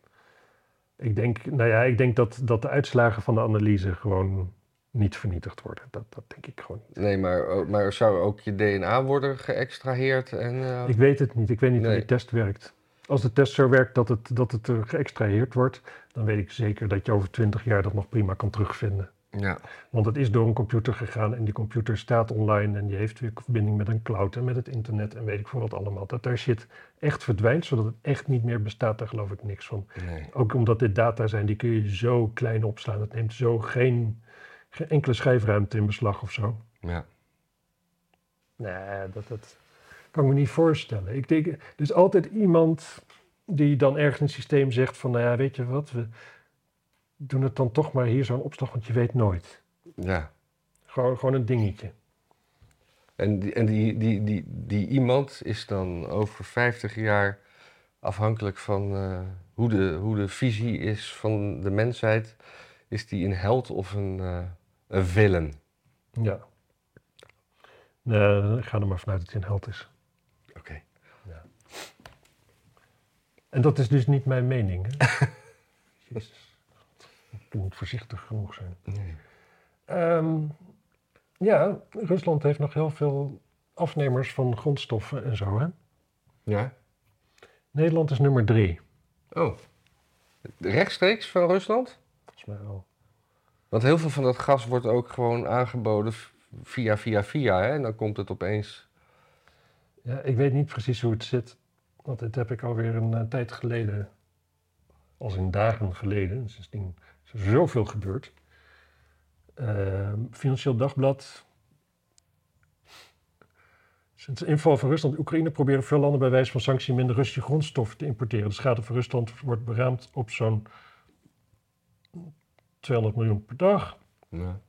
[SPEAKER 1] Ik denk, nou ja, ik denk dat, dat de uitslagen van de analyse gewoon niet vernietigd worden. Dat, dat denk ik gewoon niet.
[SPEAKER 2] Nee, maar, oh, maar zou ook je DNA worden geëxtraheerd? En, eh,
[SPEAKER 1] Ik weet het niet. Ik weet niet hoe
[SPEAKER 2] Nee.
[SPEAKER 1] die test werkt. Als de test zo werkt dat het, dat het eh, geëxtraheerd wordt, dan weet ik zeker dat je over twintig jaar dat nog prima kan terugvinden.
[SPEAKER 2] Ja,
[SPEAKER 1] Want het is door een computer gegaan en die computer staat online en die heeft weer verbinding met een cloud en met het internet en weet ik veel wat allemaal. Dat daar shit echt verdwijnt, zodat het echt niet meer bestaat, daar geloof ik niks van.
[SPEAKER 2] nee.
[SPEAKER 1] Ook omdat dit data zijn, die kun je zo klein opslaan. Het neemt zo geen, geen enkele schijfruimte in beslag of zo.
[SPEAKER 2] Ja.
[SPEAKER 1] Nee, dat, dat kan ik me niet voorstellen. Ik denk, er is altijd iemand die dan ergens in het systeem zegt van... nou ja, weet je wat, we doen het dan toch maar hier zo'n opslag, want je weet nooit.
[SPEAKER 2] ja.
[SPEAKER 1] Gewoon, gewoon een dingetje.
[SPEAKER 2] En, die, en die, die, die, die iemand is dan over 50 jaar afhankelijk van eh, hoe, de, hoe de visie is van de mensheid. Is die een held of een, eh een villain?
[SPEAKER 1] Ja. Nee, ik ga er maar vanuit dat hij een held is.
[SPEAKER 2] Oké.
[SPEAKER 1] En dat is dus niet mijn mening, hè? Jezus. Ik moet voorzichtig genoeg zijn.
[SPEAKER 2] Nee.
[SPEAKER 1] Ehm, ja, Rusland heeft nog heel veel afnemers van grondstoffen en zo, hè?
[SPEAKER 2] Ja?
[SPEAKER 1] Nederland is nummer drie.
[SPEAKER 2] Oh. Rechtstreeks van Rusland?
[SPEAKER 1] Volgens mij wel.
[SPEAKER 2] Want heel veel van dat gas wordt ook gewoon aangeboden v- via, via, via. Hè? En dan komt het opeens.
[SPEAKER 1] Ja, ik weet niet precies hoe het zit, want dit heb ik alweer een eh, tijd geleden, als in dagen geleden, sindsdien is er zoveel gebeurd. Ehm, Financieel Dagblad. Sinds de inval van Rusland in Oekraïne proberen veel landen bij wijze van sanctie minder Russische grondstoffen te importeren. De schade voor Rusland wordt beraamd op zo'n 200 miljoen per dag.
[SPEAKER 2] Ja.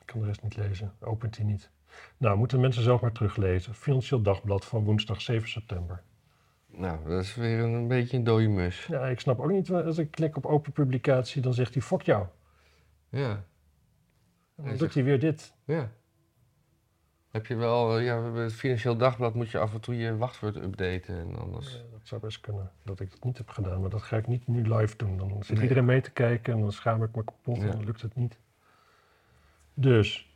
[SPEAKER 1] Ik kan de rest niet lezen. Opent hij niet. Nou, moeten mensen zelf maar teruglezen. Financieel Dagblad van woensdag 7 september.
[SPEAKER 2] Nou, dat is weer een, een beetje een dode mus.
[SPEAKER 1] Ja, ik snap ook niet, eh, als ik klik op open publicatie, dan zegt hij fuck jou.
[SPEAKER 2] Ja.
[SPEAKER 1] En
[SPEAKER 2] Hij
[SPEAKER 1] dan doet hij weer dit.
[SPEAKER 2] Ja. Heb je wel, eh, ja, we hebben het Financieel Dagblad moet je af en toe je wachtwoord updaten en anders.
[SPEAKER 1] Ja, dat zou best kunnen, dat ik dat niet heb gedaan. Maar dat ga ik niet nu live doen. Dan zit
[SPEAKER 2] Nee.
[SPEAKER 1] iedereen mee te kijken en dan schaam ik me kapot en
[SPEAKER 2] Ja.
[SPEAKER 1] dan lukt het niet. Dus,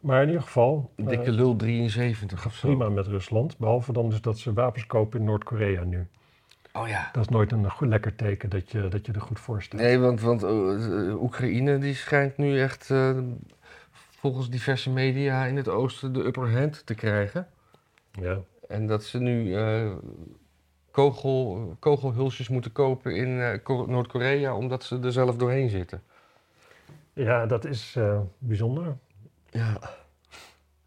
[SPEAKER 1] maar in ieder geval, eh,
[SPEAKER 2] Dikke lul 73 of zo.
[SPEAKER 1] prima met Rusland. Behalve dan dus dat ze wapens kopen in Noord-Korea nu.
[SPEAKER 2] Oh ja.
[SPEAKER 1] Dat is nooit een go- lekker teken dat je, dat je er goed voor staat.
[SPEAKER 2] Nee, want, want eh, Oekraïne die schijnt nu echt eh, volgens diverse media in het oosten de upper hand te krijgen.
[SPEAKER 1] Ja.
[SPEAKER 2] En dat ze nu eh, kogel, kogelhulsjes moeten kopen in eh, Ko- Noord-Korea omdat ze er zelf doorheen zitten.
[SPEAKER 1] ja, dat is eh, bijzonder.
[SPEAKER 2] Ja.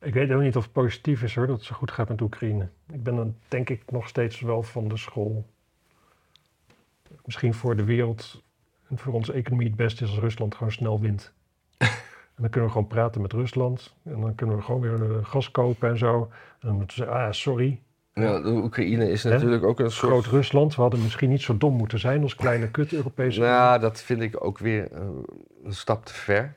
[SPEAKER 1] Ik weet ook niet of het positief is hoor, dat het zo goed gaat met Oekraïne. Ik ben dan denk ik nog steeds wel van de school. Misschien voor de wereld en voor onze economie het beste is als Rusland gewoon snel wint. En dan kunnen we gewoon praten met Rusland. En dan kunnen we gewoon weer eh, gas kopen en zo. En dan moeten ze zeggen, ah sorry,
[SPEAKER 2] Ja, de Oekraïne is
[SPEAKER 1] Hè?
[SPEAKER 2] natuurlijk ook een soort...
[SPEAKER 1] groot Rusland. We hadden misschien niet zo dom moeten zijn als kleine kut Europese
[SPEAKER 2] Nou, dat vind ik ook weer eh, een stap te ver.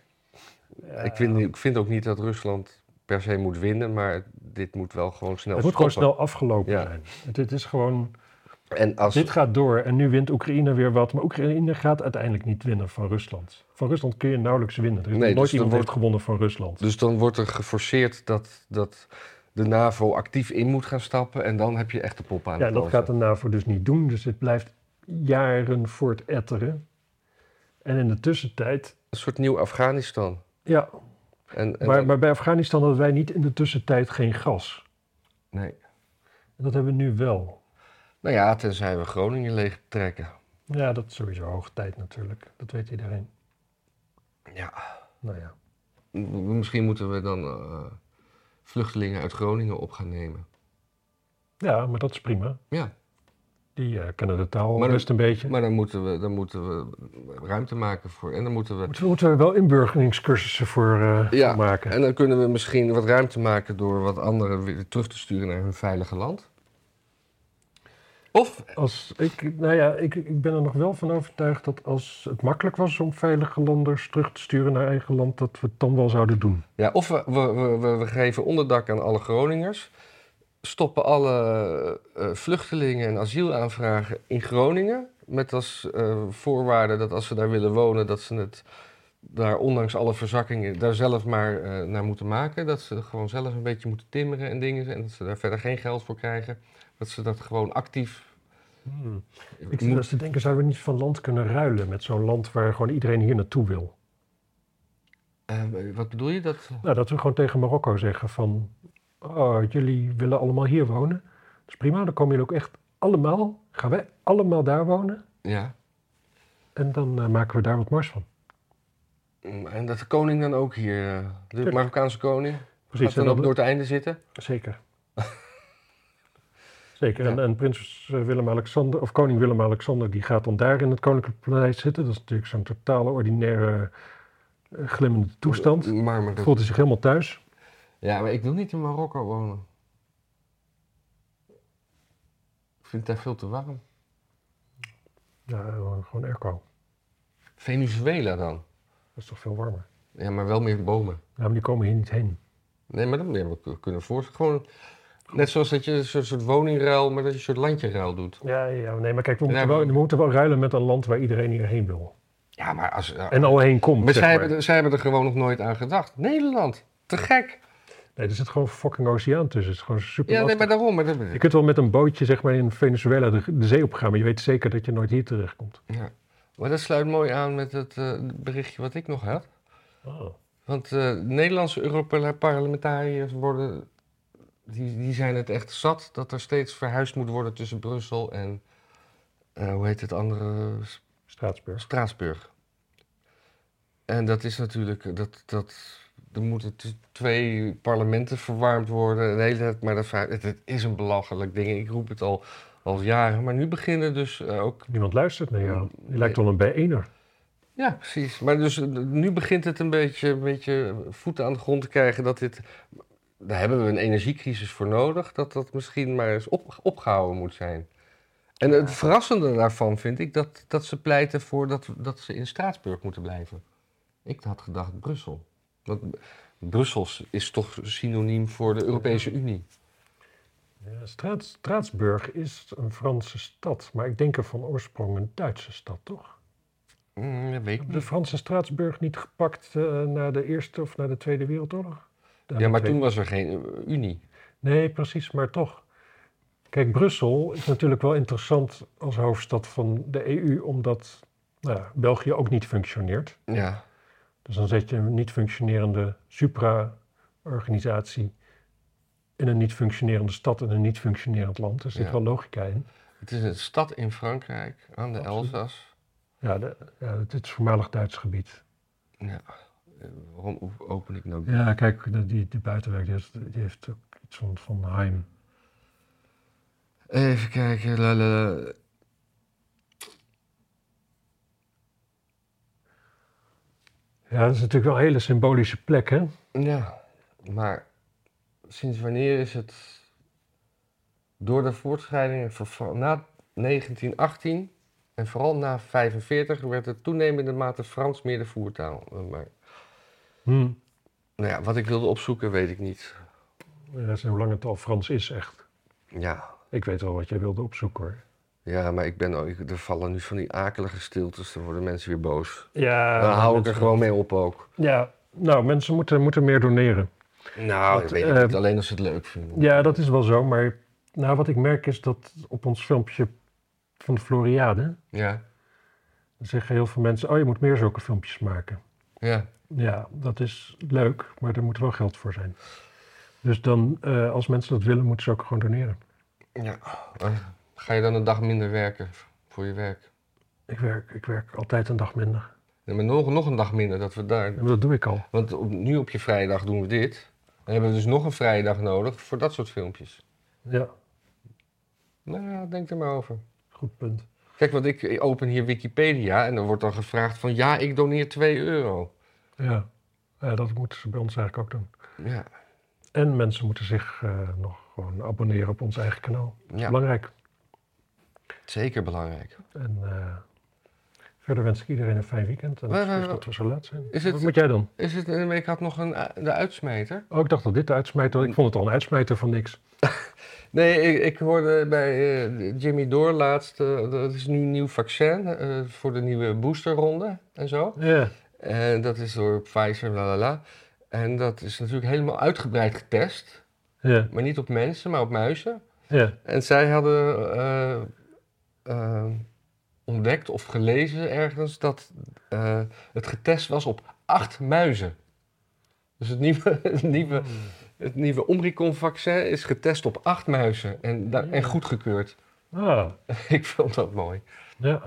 [SPEAKER 1] Ja.
[SPEAKER 2] Ik, vind, ik vind ook niet dat Rusland per se moet winnen, maar dit moet wel gewoon snel
[SPEAKER 1] Het moet gewoon
[SPEAKER 2] stoppen.
[SPEAKER 1] snel afgelopen
[SPEAKER 2] Ja.
[SPEAKER 1] zijn. Het, het is gewoon,
[SPEAKER 2] En als,
[SPEAKER 1] dit gaat door en nu wint Oekraïne weer wat. Maar Oekraïne gaat uiteindelijk niet winnen van Rusland. Van Rusland kun je nauwelijks winnen. Er is
[SPEAKER 2] Nee,
[SPEAKER 1] nog nooit
[SPEAKER 2] dus dan
[SPEAKER 1] iemand
[SPEAKER 2] wordt-
[SPEAKER 1] heeft gewonnen van Rusland.
[SPEAKER 2] Dus dan wordt er geforceerd dat, dat de NAVO actief in moet gaan stappen en dan heb je echt de pop aan
[SPEAKER 1] ja,
[SPEAKER 2] de
[SPEAKER 1] en dat
[SPEAKER 2] poten.
[SPEAKER 1] gaat de NAVO dus niet doen. Dus het blijft jaren voortetteren. En in de tussentijd...
[SPEAKER 2] Een soort nieuw Afghanistan.
[SPEAKER 1] Ja,
[SPEAKER 2] En, en
[SPEAKER 1] maar, maar bij Afghanistan hadden wij niet in de tussentijd geen gas.
[SPEAKER 2] nee.
[SPEAKER 1] En dat hebben we nu wel.
[SPEAKER 2] Nou ja, tenzij we Groningen leeg trekken.
[SPEAKER 1] Ja, dat is sowieso hoog tijd natuurlijk. Dat weet iedereen.
[SPEAKER 2] Ja.
[SPEAKER 1] Nou ja.
[SPEAKER 2] M- Misschien moeten we dan eh, vluchtelingen uit Groningen op gaan nemen.
[SPEAKER 1] ja, maar dat is prima.
[SPEAKER 2] Ja,
[SPEAKER 1] Die eh, kennen de taal
[SPEAKER 2] Maar dat-
[SPEAKER 1] best een beetje.
[SPEAKER 2] maar dan moeten we, dan moeten we ruimte maken voor. En dan moeten we.
[SPEAKER 1] Moeten we moeten er wel inburgeringscursussen voor eh,
[SPEAKER 2] Ja,
[SPEAKER 1] maken.
[SPEAKER 2] En dan kunnen we misschien wat ruimte maken door wat anderen weer terug te sturen naar hun veilige land. Of
[SPEAKER 1] Als, ik, nou ja, ik, ik ben er nog wel van overtuigd dat als het makkelijk was om veilige landers terug te sturen naar eigen land, dat we het dan wel zouden doen.
[SPEAKER 2] Ja, of we, we, we, we- we geven onderdak aan alle Groningers, stoppen alle eh, vluchtelingen en asielaanvragen in Groningen, met als eh, voorwaarde dat als ze daar willen wonen, dat ze het daar ondanks alle verzakkingen daar zelf maar eh, naar moeten maken. Dat ze gewoon zelf een beetje moeten timmeren en dingen en dat ze daar verder geen geld voor krijgen. Dat ze dat gewoon actief Hmm.
[SPEAKER 1] Ik zit
[SPEAKER 2] moeten.
[SPEAKER 1] dus te denken, zouden we niet van land kunnen ruilen met zo'n land waar gewoon iedereen hier naartoe wil?
[SPEAKER 2] Eh, wat bedoel je? Dat,
[SPEAKER 1] Nou, dat we gewoon tegen Marokko zeggen van, oh, jullie willen allemaal hier wonen. Dat is prima, dan komen jullie ook echt allemaal, gaan wij allemaal daar wonen
[SPEAKER 2] ja.
[SPEAKER 1] en dan eh, maken we daar wat mars van.
[SPEAKER 2] Mm, En dat de koning dan ook hier, eh, de
[SPEAKER 1] Tuurlijk.
[SPEAKER 2] Marokkaanse koning,
[SPEAKER 1] Precies,
[SPEAKER 2] gaat
[SPEAKER 1] en
[SPEAKER 2] dan
[SPEAKER 1] dan-
[SPEAKER 2] op Noordeinde zitten.
[SPEAKER 1] Zeker. Zeker. En,
[SPEAKER 2] Ja.
[SPEAKER 1] en prins eh, Willem-Alexander, of koning Willem-Alexander, die gaat dan daar in het Koninklijk Paleis zitten. Dat is natuurlijk zo'n totale ordinaire eh, glimmende toestand.
[SPEAKER 2] Eh, Maar, maar dat-
[SPEAKER 1] Voelt hij zich helemaal thuis.
[SPEAKER 2] Ja, maar ik wil niet in Marokko wonen. Ik vind het daar veel te warm.
[SPEAKER 1] Ja, eh, gewoon airco.
[SPEAKER 2] Venezuela dan?
[SPEAKER 1] Dat is toch veel warmer.
[SPEAKER 2] Ja, maar wel meer bomen.
[SPEAKER 1] Ja, maar die komen hier niet heen.
[SPEAKER 2] Nee, maar dat ja, we k- kunnen voorstellen. Gewoon net zoals dat je een soort, soort woningruil, maar dat je een soort landjeruil doet.
[SPEAKER 1] Ja, ja nee, maar kijk, we
[SPEAKER 2] moeten
[SPEAKER 1] moeten,
[SPEAKER 2] wel-
[SPEAKER 1] wel, we moeten wel ruilen met een land waar iedereen hierheen wil.
[SPEAKER 2] Ja, maar als... eh,
[SPEAKER 1] En al heen komt.
[SPEAKER 2] maar
[SPEAKER 1] zeg
[SPEAKER 2] zij,
[SPEAKER 1] maar.
[SPEAKER 2] hebben er, zij hebben er gewoon nog nooit aan gedacht. Nederland, te gek.
[SPEAKER 1] Nee, er zit gewoon een fucking oceaan tussen. Het is gewoon super
[SPEAKER 2] Ja, nee,
[SPEAKER 1] lastig.
[SPEAKER 2] maar daarom. Maar dat,
[SPEAKER 1] Je kunt wel met een bootje zeg maar, in Venezuela de, de zee opgaan, maar je weet zeker dat je nooit hier terechtkomt.
[SPEAKER 2] ja. maar dat sluit mooi aan met het eh, berichtje wat ik nog had.
[SPEAKER 1] Oh.
[SPEAKER 2] Want eh, Nederlandse Europarlementariërs worden. Die, die zijn het echt zat dat er steeds verhuisd moet worden tussen Brussel en. eh, hoe heet het andere? S-
[SPEAKER 1] Straatsburg.
[SPEAKER 2] Straatsburg. En dat is natuurlijk. Dat, dat, er moeten t- twee parlementen verwarmd worden. En de hele tijd, maar dat, vra- het, het is een belachelijk ding. Ik roep het al, al jaren. Maar nu beginnen dus eh, ook
[SPEAKER 1] Niemand luistert naar jou.
[SPEAKER 2] Mm,
[SPEAKER 1] Je lijkt wel een bijeener.
[SPEAKER 2] Ja, precies. Maar dus eh, nu begint het een beetje, een beetje voeten aan de grond te krijgen dat dit. Daar hebben we een energiecrisis voor nodig, dat dat misschien maar eens op, opgehouden moet zijn. En het verrassende daarvan vind ik dat, dat ze pleiten voor dat, dat ze in Straatsburg moeten blijven. Ik had gedacht Brussel. Want Brussel is toch synoniem voor de Europese Unie.
[SPEAKER 1] Ja, Straat, Straatsburg is een Franse stad, maar ik denk er van oorsprong een Duitse stad, toch?
[SPEAKER 2] Mm, dat weet ik
[SPEAKER 1] Hebben de
[SPEAKER 2] niet.
[SPEAKER 1] Franse Straatsburg niet gepakt eh, na de Eerste of na de Tweede Wereldoorlog? Na de
[SPEAKER 2] Ja, maar
[SPEAKER 1] Tweede-
[SPEAKER 2] toen was er geen eh, Unie.
[SPEAKER 1] Nee, precies, maar toch. Kijk, Brussel is natuurlijk wel interessant als hoofdstad van de EU, omdat nou ja, België ook niet functioneert.
[SPEAKER 2] Ja,
[SPEAKER 1] Dus dan zet je een niet functionerende supra-organisatie in een niet functionerende stad in een niet functionerend land. Er zit
[SPEAKER 2] Ja.
[SPEAKER 1] wel logica in.
[SPEAKER 2] het is een stad in Frankrijk aan de
[SPEAKER 1] Absoluut.
[SPEAKER 2] Elzas.
[SPEAKER 1] Ja, de, ja, het is voormalig Duits gebied.
[SPEAKER 2] Ja. Eh, Waarom o- open ik nou?
[SPEAKER 1] Ja, kijk, de- die, die buitenwerk die heeft, die heeft ook iets van, van Heim.
[SPEAKER 2] Even kijken. la, la, la.
[SPEAKER 1] Ja, dat is natuurlijk wel een hele symbolische plek, hè?
[SPEAKER 2] Ja, maar sinds wanneer is het door de voortschrijdingen verva- na 1918 en vooral na 45 werd het toenemende mate Frans meer de voertaal. Eh, Maar,
[SPEAKER 1] Hm.
[SPEAKER 2] nou ja, wat ik wilde opzoeken weet ik niet.
[SPEAKER 1] Ja, dat is hoe lang het al Frans is, echt.
[SPEAKER 2] Ja,
[SPEAKER 1] Ik weet wel wat jij wilde opzoeken, hoor.
[SPEAKER 2] ja maar ik ben, ook- ik- er vallen nu van die akelige stiltes, dan worden mensen weer boos.
[SPEAKER 1] Ja,
[SPEAKER 2] Daar hou ik er
[SPEAKER 1] mensen-
[SPEAKER 2] gewoon mee op ook.
[SPEAKER 1] Ja, nou, mensen moeten, moeten meer doneren.
[SPEAKER 2] Nou,
[SPEAKER 1] Dat,
[SPEAKER 2] ik weet
[SPEAKER 1] eh,
[SPEAKER 2] het niet, alleen als ze het leuk vinden.
[SPEAKER 1] Ja, dat is wel zo, maar nou, wat ik merk is dat op ons filmpje van de Floriade
[SPEAKER 2] Ja,
[SPEAKER 1] zeggen heel veel mensen: Oh, je moet meer zulke filmpjes maken.
[SPEAKER 2] ja.
[SPEAKER 1] Ja, dat is leuk, maar er moet wel geld voor zijn. Dus dan, eh, als mensen dat willen, moeten ze ook gewoon doneren.
[SPEAKER 2] ja. Eh, Ga je dan een dag minder werken voor je werk?
[SPEAKER 1] Ik werk, ik werk altijd een dag minder.
[SPEAKER 2] Ja, maar nog, nog een dag minder dat we daar.
[SPEAKER 1] En dat doe ik al.
[SPEAKER 2] Want op, nu op je vrijdag doen we dit. Dan hebben we dus nog een vrijdag nodig voor dat soort filmpjes.
[SPEAKER 1] Ja,
[SPEAKER 2] Nou ja, denk er maar over.
[SPEAKER 1] goed punt.
[SPEAKER 2] Kijk, want ik ik open hier Wikipedia en er wordt dan gevraagd van ja, ik doneer 2 euro.
[SPEAKER 1] Ja, Eh, dat moeten ze bij ons eigenlijk ook doen.
[SPEAKER 2] Ja,
[SPEAKER 1] En mensen moeten zich eh, nog gewoon abonneren op ons eigen kanaal. Dat is
[SPEAKER 2] Ja.
[SPEAKER 1] Belangrijk.
[SPEAKER 2] zeker belangrijk.
[SPEAKER 1] En eh, verder wens ik iedereen een fijn weekend. En
[SPEAKER 2] Waar-
[SPEAKER 1] excuus
[SPEAKER 2] waar-
[SPEAKER 1] dat we zo laat zijn.
[SPEAKER 2] eh, Is het-
[SPEAKER 1] Wat moet jij dan?
[SPEAKER 2] Is het, eh, ik had nog een, u- de uitsmijter.
[SPEAKER 1] Oh, ik dacht dat dit de
[SPEAKER 2] Hmm.
[SPEAKER 1] uitsmijter Ik vond het al een uitsmijter van niks.
[SPEAKER 2] Nee, ik, ik hoorde bij eh, Jimmy Door laatst, eh, dat is nu een nieuw vaccin eh, voor de nieuwe boosterronde en zo.
[SPEAKER 1] Ja.
[SPEAKER 2] En dat is door Pfizer, la la la. En dat is natuurlijk helemaal uitgebreid getest.
[SPEAKER 1] Ja.
[SPEAKER 2] Maar niet op mensen, maar op muizen.
[SPEAKER 1] Ja.
[SPEAKER 2] En zij hadden eh, eh, ontdekt of gelezen ergens dat eh, het getest was op acht muizen. Dus het nieuwe, het nieuwe, het nieuwe Omicron-vaccin is getest op acht muizen en, da- en goedgekeurd.
[SPEAKER 1] Ah,
[SPEAKER 2] Ik vond dat mooi.
[SPEAKER 1] ja.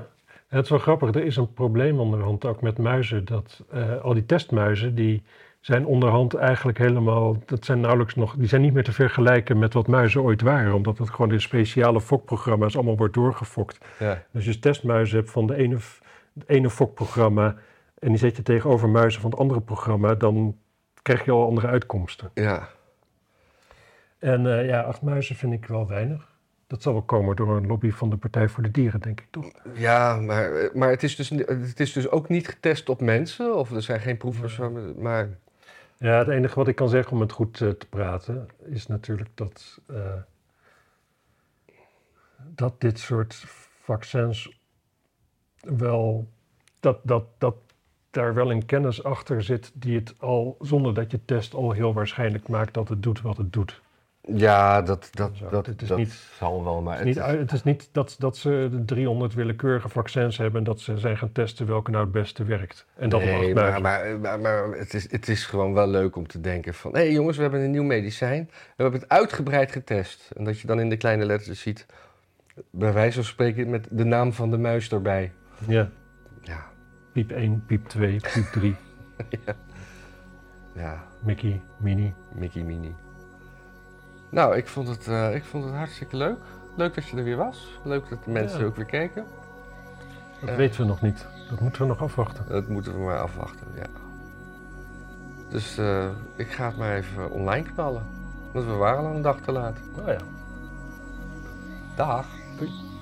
[SPEAKER 1] En het is wel grappig. Er is een probleem onderhand ook met muizen. Dat eh, al die testmuizen, die zijn onderhand eigenlijk helemaal... Dat zijn nauwelijks nog... Die zijn niet meer te vergelijken met wat muizen ooit waren. Omdat dat gewoon in speciale fokprogramma's allemaal wordt doorgefokt.
[SPEAKER 2] Ja,
[SPEAKER 1] Dus je testmuizen hebt van de ene, het ene fokprogramma en die zet je tegenover muizen van het andere programma, dan krijg je al andere uitkomsten.
[SPEAKER 2] ja.
[SPEAKER 1] En eh, ja, acht muizen vind ik wel weinig. Dat zal wel komen door een lobby van de Partij voor de Dieren, denk ik toch?
[SPEAKER 2] ja maar, maar het, is dus, het is dus ook niet getest op mensen. Of er zijn geen proefers van. Maar
[SPEAKER 1] Ja, het enige wat ik kan zeggen om het goed eh, te praten is natuurlijk dat, eh, dat dit soort vaccins wel, dat, dat, dat daar wel een kennis achter zit die het al, zonder dat je test al heel waarschijnlijk maakt dat het doet wat het doet.
[SPEAKER 2] ja, dat, dat,
[SPEAKER 1] Zo,
[SPEAKER 2] dat,
[SPEAKER 1] het is
[SPEAKER 2] dat
[SPEAKER 1] niet-
[SPEAKER 2] zal wel. Maar
[SPEAKER 1] Het is niet,
[SPEAKER 2] het-
[SPEAKER 1] uit- het is niet dat, dat ze de 300 willekeurige vaccins hebben en dat ze zijn gaan testen welke nou het beste werkt. En dat op acht
[SPEAKER 2] nee,
[SPEAKER 1] muizen.
[SPEAKER 2] maar, maar, maar, maar het, is, het is gewoon wel leuk om te denken van... hé hey jongens, we hebben een nieuw medicijn. We hebben het uitgebreid getest. En dat je dan in de kleine letters ziet... bij wijze van spreken met de naam van de muis erbij.
[SPEAKER 1] Ja,
[SPEAKER 2] Ja,
[SPEAKER 1] piep 1, piep 2, piep 3,
[SPEAKER 2] ja,
[SPEAKER 1] Mickey, Minnie.
[SPEAKER 2] Mickey Mini. Nou, ik vond, het, eh, ik vond het hartstikke leuk. Leuk dat je er weer was. Leuk dat de mensen
[SPEAKER 1] Ja.
[SPEAKER 2] ook weer kijken.
[SPEAKER 1] Dat
[SPEAKER 2] Eh.
[SPEAKER 1] weten we nog niet. Dat moeten we nog afwachten.
[SPEAKER 2] Dat moeten we maar afwachten, ja. Dus eh, ik ga het maar even online knallen. Want we waren al een dag te laat.
[SPEAKER 1] Nou ja.
[SPEAKER 2] Dag. Doei.